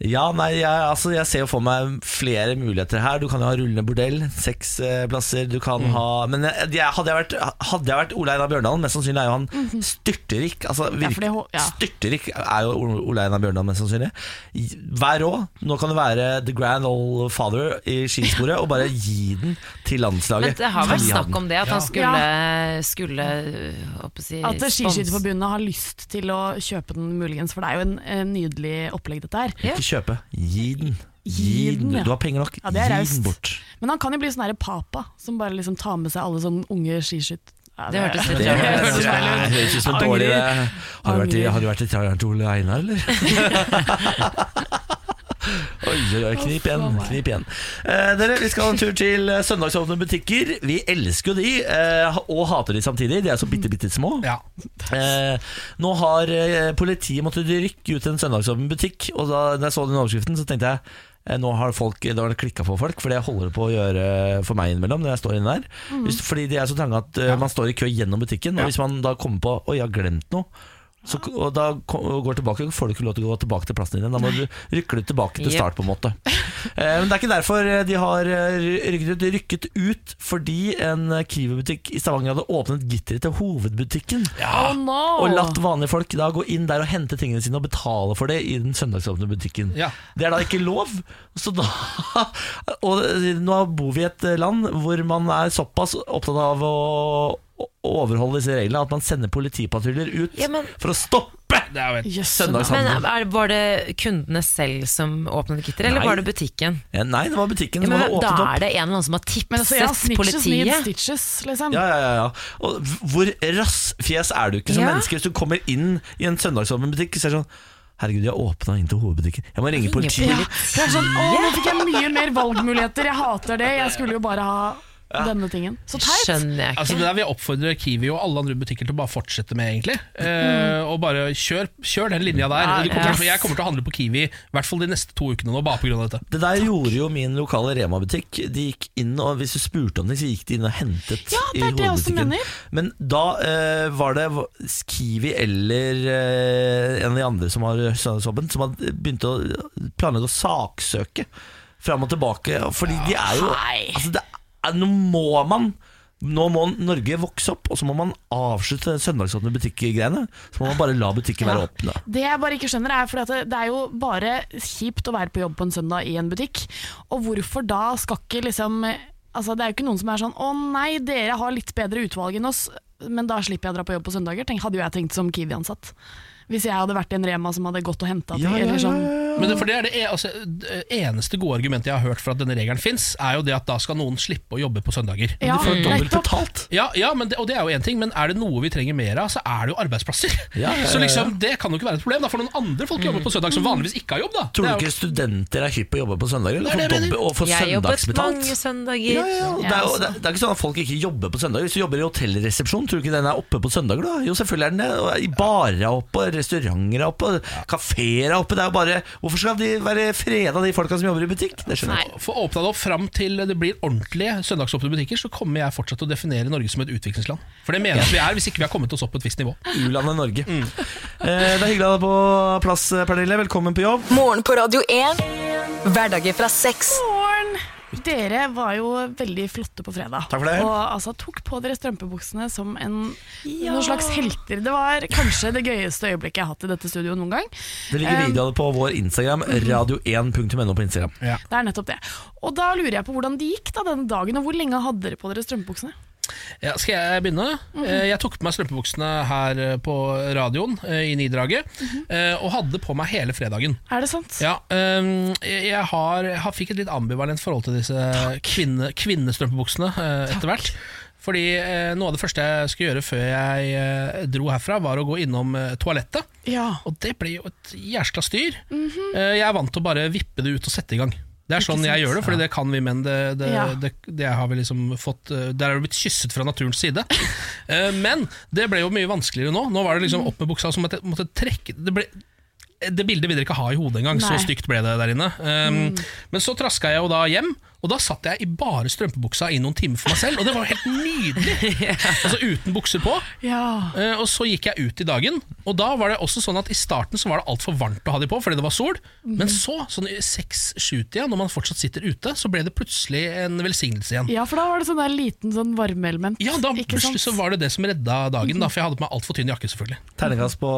Ja, nei, jeg, altså, jeg ser jo for meg flere muligheter her. Du kan jo ha rullende bordell, seks eh, plasser. Du kan Mm. ha Men jeg, jeg, hadde, jeg vært, hadde jeg vært Ole Einar Bjørndalen, mest sannsynlig er jo han styrterik. Altså, Mhm. Ja, virk, for det hå- ja. Styrterik er jo Ole Einar Bjørndalen, mest sannsynlig. I- Vær rå. Nå kan du være the grand old father i skisporet og bare gi den til landslaget. Men det har vært snakk om det, at han skulle, skulle håper jeg å At si, spons- Skiskytterforbundet har lyst til å kjøpe den muligens, for det er jo en, en nydelig opplegg dette her. Ikke kjøpe, gi den. Gi den. ja. Du har penger nok, Ja, det er gi raust. den bort. Men han kan jo bli sånn her papa, som bare liksom tar med seg alle sånne unge skiskytt... Ja, Det hørtes litt Det rart ut. høres ut som en dårlig idé. Har du vært i, har du vært i traileren til Ole Einar, eller? Oi, oi, oi, knip igjen. knip igjen eh, Dere, Vi skal ha en tur til eh, søndagsåpne butikker. Vi elsker jo de, eh, og hater de samtidig. De er så bitte, bitte små. Ja. Eh, nå har eh, politiet måttet rykke ut til en søndagsåpen butikk, og da, da jeg så den overskriften, så tenkte jeg eh, nå har folk, da har det klikka for folk, for det holder det på å gjøre for meg innimellom. Når jeg står inne der hvis, Fordi de er så trange at eh, man står i kø gjennom butikken, og hvis man da kommer på Oi, jeg har glemt noe. Så, og da ko- og går tilbake, får du ikke lov til å gå tilbake til plassen din igjen. Da må du rykke du tilbake til Jep. start, på en måte. Eh, Men det er ikke derfor de har eh, rykket ut. De rykket ut fordi en eh, Kiwi-butikk i Stavanger hadde åpnet gitteret til hovedbutikken. Oh no! Og latt vanlige folk da gå inn der og hente tingene sine og betale for det i den søndagsåpne butikken. Ja. Det er da ikke lov. Så da, og nå bor vi i et land hvor man er såpass opptatt av å å overholde disse reglene at man sender politipatruljer ut Ja, men- for å stoppe Det er jo et Jøss, Men søndagshandel. er, Var det kundene selv som åpnet gitter, eller Nei. var det butikken? Ja, Nei, det var butikken Ja, som men hadde da åpnet opp. er det en eller annen som har Men tipset altså, ja, snitches need politiet. stitches, liksom. Ja, ja, ja, ja. Og v- hvor rassfjes er du ikke som Ja. menneske hvis du kommer inn i en søndagsåpen butikk og ser sånn Herregud, jeg åpna inn til hovedbutikken. Jeg må ringe politiet. Ja. Det er sånn, å, nå fikk jeg mye mer valgmuligheter, jeg hater det, jeg skulle jo bare ha denne tingen. Så teit! Skjønner jeg Altså ikke. Det der vil jeg oppfordre Kiwi og alle andre butikker til å bare fortsette med, egentlig. Eh, og bare kjør, kjør den linja der. Ja, Og du kommer, til- yes. Jeg kommer til å handle på Kiwi i hvert fall de neste to ukene nå, bare pga. dette. Det der gjorde jo min lokale Rema-butikk. De gikk inn, og Hvis du spurte om det, så gikk de inn og hentet Ja, det er i det jeg også hovedbutikken. mener. Men da eh, var det Kiwi eller eh, en av de andre som har søndagsåpen, som hadde begynt å planlegge å saksøke fram og tilbake. Fordi de er jo altså det er, Nå må man nå må Norge vokse opp, og så må man avslutte den søndagsåpne butikkgreiene. Så må man bare la butikken være åpne. Det jeg bare ikke skjønner, er fordi at det, det er jo bare kjipt å være på jobb på en søndag i en butikk. Og hvorfor da skal ikke liksom Altså Det er jo ikke noen som er sånn 'Å nei, dere har litt bedre utvalg enn oss, men da slipper jeg å dra på jobb på søndager'. Tenk, hadde jo jeg tenkt som Kiwi-ansatt. Hvis jeg hadde vært i en Rema som hadde gått og henta Ja, ja, ja, sånn. Men det, for det er det e- altså, det eneste gode argumentet jeg har hørt for at denne regelen fins, er jo det at da skal noen slippe å jobbe på søndager. Ja, Du får dobbelt Mm. nettopp. betalt. Ja, ja men det, og det er jo en ting, men er det noe vi trenger mer av, så er det jo arbeidsplasser. Ja, ja, ja, ja. Så liksom, det kan jo ikke være et problem. Da får noen andre folk jobbe på søndag som vanligvis ikke har jobb. da Tror Det er du jo- ikke studenter er hypp på å jobbe på søndager? Det er Eller få det jeg mener. dobbelt- og få Jeg jobbet søndagsbetalt? mange søndager. altså, Ja, ja, ja. Det, er jo, det, det er ikke sånn at folk ikke jobber på søndager. Hvis du jobber i hotellresepsjon, tror du ikke den er oppe på søndager da? Jo, selvfølgelig er den det. Og I barer er oppe, restauranter er oppe, kafeer er oppe. Det er jo bare Hvorfor skal de være freda, de folka som jobber i butikk? Det skjønner jeg ikke. Få åpna det opp fram til det blir ordentlige søndagsåpne butikker, så kommer jeg fortsatt til å definere Norge som et utviklingsland. For det mener jeg at vi er, hvis ikke vi har kommet oss opp på et visst nivå. U-landet Norge. Mm. Eh, det er hyggelig å ha deg på plass, Pernille. Velkommen på jobb. Morgen på Radio 1. Hverdager fra seks. Morgen! Dere var jo veldig flotte på fredag. Takk for det. Og altså, tok på dere strømpebuksene som en, noen slags helter. Det var kanskje det gøyeste øyeblikket jeg har hatt i dette studioet noen gang. Det Eh, ligger Um, videoer på vår Instagram, radio1.no på Instagram. Det er nettopp det. Og da lurer jeg på hvordan det gikk da denne dagen, og hvor lenge hadde dere på dere strømpebuksene? Ja, skal jeg begynne? Eh, Jeg tok på meg strømpebuksene her eh, på radioen eh, i Nidraget, eh, og hadde på meg hele fredagen. Er det sant? Ja, øhm, jeg jeg har, har fikk et litt ambivalent forhold til disse kvinne, kvinnestrømpebuksene øh, etter hvert. Fordi eh, Noe av det første jeg skulle gjøre før jeg eh, dro herfra, var å gå innom eh, toalettet. Ja. Mhm. Og det ble jo et jæskla styr. Eh, jeg er vant til å bare vippe det ut og sette i gang. Det er sånn jeg gjør det, for det kan vi menn. Det, det, Ja. det, det har vi liksom fått eh, Der er du blitt kysset fra naturens side. Eh, men det ble jo mye vanskeligere nå. Nå var det liksom opp med buksa, så måtte, jeg- måtte jeg trekke Det ble det bildet vil dere ikke ha i hodet engang, så Nei. Mm. stygt ble det der inne. Um, Men så traska jeg jo da hjem, og da satt jeg i bare strømpebuksa i noen timer for meg selv, og det var jo helt nydelig! Altså uten bukser på. Ja. Eh, og så gikk jeg ut i dagen, og da var det også sånn at i starten så var det altfor varmt å ha de på fordi det var sol, Mhm. men så, sånn i seks-sju-tida, når man fortsatt sitter ute, så ble det plutselig en velsignelse igjen. Ja, for da var det sånn der liten sånn varmeelement. Ja, da ikke sant? Mhm. plutselig så var det det som redda dagen, da, for jeg hadde på meg altfor tynn jakke, selvfølgelig. Terningkast på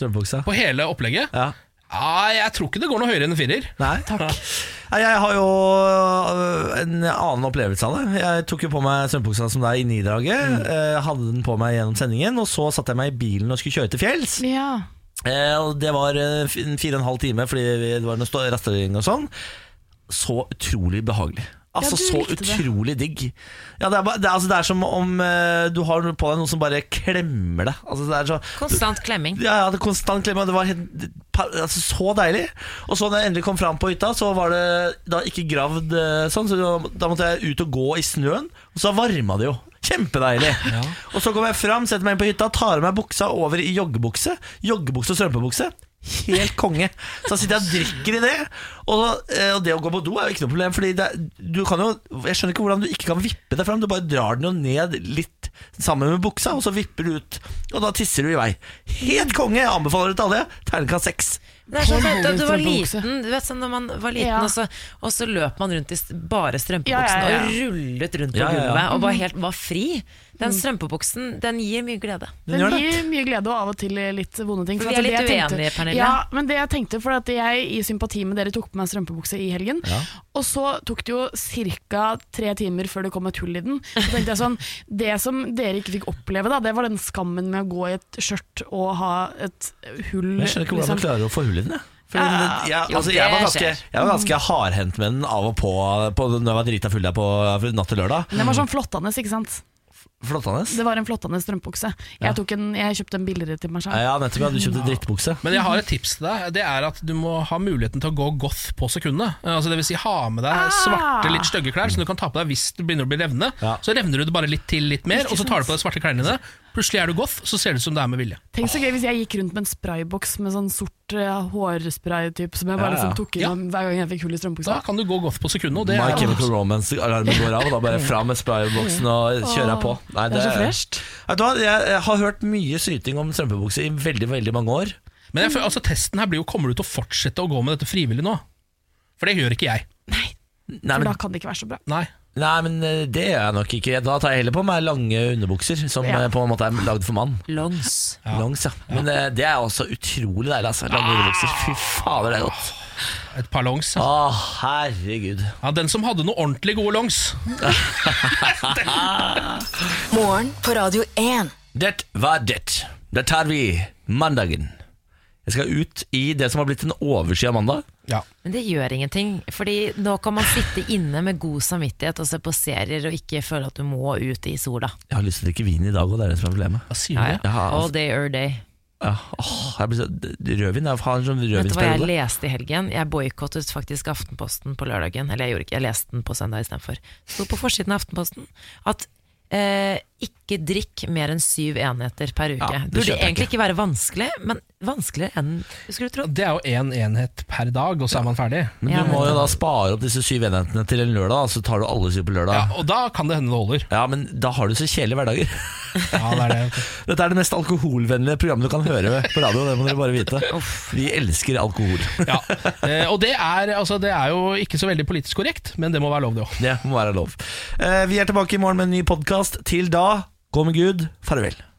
strømpebuksa. På hele opplegget. Ja. Ja, jeg tror ikke det går noe høyere enn en firer. Nei. Nei, Jeg har jo øh, en annen opplevelse av det. Jeg tok jo på meg strømpebuksa som deg i nidraget. Mm. eh, Hadde den på meg gjennom sendingen, og så satte jeg meg i bilen og skulle kjøre til fjells. Ja. Eh, og Det var eh, f- en fire og en halv time fordi vi- det var noe stå- rastering og sånn. Så utrolig behagelig. Altså du Så likte det. utrolig digg. Ja, det, er, bare- det, er, altså, det er som om eh, du har på deg noen som bare klemmer deg. Altså, det er så, Konstant klemming. ja, jeg hadde konstant klemme, og det var helt, pa- altså, så deilig. Og så når jeg endelig kom fram på hytta, så var det da ikke gravd eh, sånn, så da- da måtte jeg ut og gå i snøen, og så varma det jo. Kjempedeilig. Og så kommer jeg fram, setter meg inn på hytta, tar av meg buksa over i joggebukse. Joggebukse og strømpebukse. Helt konge. Så sitter jeg og drikker i det. Og, eh, og det å gå på do er jo ikke noe problem, Fordi det, er- du kan jo Jeg skjønner ikke hvordan du ikke kan vippe deg fram. Du bare drar den jo ned litt sammen med buksa, og så vipper du ut. Og da tisser du i vei. Helt konge! Jeg anbefaler det til alle. Terningkast seks. Det er så Tolv fett at du var strømpebukse. liten, du vet sånn når man var liten, Ja. og, så, og så løp man rundt i s- bare strømpebuksene Ja, ja, ja. og rullet rundt på Ja, ja, ja. gulvet og bare helt var fri. Den strømpebuksen, den gir mye glede. Den Den gjør det. gir mye glede og av og til litt vonde ting. For vi altså, er litt det jeg tenkte- uenige, Pernille. Ja, men det jeg tenkte, for at jeg i sympati med dere tok på meg strømpebukse i helgen, og så tok det jo ca. tre timer før det kom et hull i den. Så tenkte jeg sånn, Det som dere ikke fikk oppleve, da, det var den skammen med å gå i et skjørt og ha et hull Jeg skjønner ikke hvordan du liksom. klarer å få hull i den. jeg. Fordi den- jeg, jo, altså, jeg, var det ganske, skjer. jeg var ganske hardhendt med den av og på, på når jeg var drita full der på natt til lørdag. Den var sånn flottende, ikke sant? Flottende. Det var en flottende strømpebukse. Jeg, tok en, jeg kjøpte en billigere til meg selv. Ja, nettopp. Jeg hadde kjøpt en drittbukse. Men jeg har et tips til deg. Det er at Du må ha muligheten til å gå goth på sekundet. Eh, Altså, det vil si, ha med deg svarte, litt stygge klær som du kan ta på deg hvis du begynner å bli revne. Ja. Så revner du det bare litt til, litt mer, og så tar du på deg svarte klærne dine. Plutselig er du goth, så ser det ut som det er med vilje. Tenk så gøy hvis jeg gikk rundt med en sprayboks med sånn sort uh, hårspray-type som jeg bare Ja, ja. liksom tok Ja. innom hver gang jeg fikk hull i strømpebuksa. Da kan du gå goth på sekundet, og det My er Chemical Romance-alarmen går av, og da bare fra med sprayboksen og kjører jeg på. Nei, Det er så fresht. Vet du hva, jeg har hørt mye syting om strømpebukse i veldig, veldig mange år. Men jeg, føler- altså, testen her blir jo kommer du til å fortsette å gå med dette frivillig nå. For det gjør ikke jeg. For Nei, men, da kan det ikke være så bra. Nei. nei, men eh, det gjør jeg nok ikke. Da tar jeg heller på meg lange underbukser, som Ja. eh, på en måte er lagd for mann. Longs. Longs, ja. Men eh, det er også utrolig deilig, altså. Lange Ah. underbukser. Fy fader, det er godt. Et par longs. Å, Ja. herregud. Ja, den som hadde noe ordentlig gode longs. Morgen på Radio 1. Det var det. Da tar vi mandagen. Jeg skal ut i det som har blitt en overskya mandag. Ja. Men det gjør ingenting, Fordi nå kan man sitte inne med god samvittighet og se på serier og ikke føle at du må ut i sola. Jeg har lyst til å drikke vin i dag, og det er det som er problemet. Hva sier du? det? Ja, All altså, day or day. ja. Åh, jeg blir så, d- rødvin Jeg har en sånn Vet du hva jeg rødvinsperiode. leste i helgen? Jeg boikottet faktisk Aftenposten på lørdagen. Eller jeg gjorde ikke, jeg leste den på søndag istedenfor. Sto på forsiden av Aftenposten at eh, ikke drikk mer enn syv enheter per uke. Ja, det Burde kjøper jeg egentlig ikke være vanskelig, men vanskeligere enn skulle du tro. Det er jo én enhet per dag, og så er man ferdig. Men Ja, du men- må jo da spare opp disse syv enhetene til en lørdag, og så tar du alle syv på Ja, lørdag. og da kan det hende det holder. Ja, men da har du så kjedelige hverdager. Ja, det er det. Dette er det mest alkoholvennlige programmet du kan høre på radio, det må dere bare vite. Vi elsker alkohol. Ja. Eh, og det er, altså, det er jo ikke så veldig politisk korrekt, men det må være lov, det òg. Det må være lov. Eh, Vi er tilbake i morgen med en ny podkast. Til da, gå med Gud. Farvel.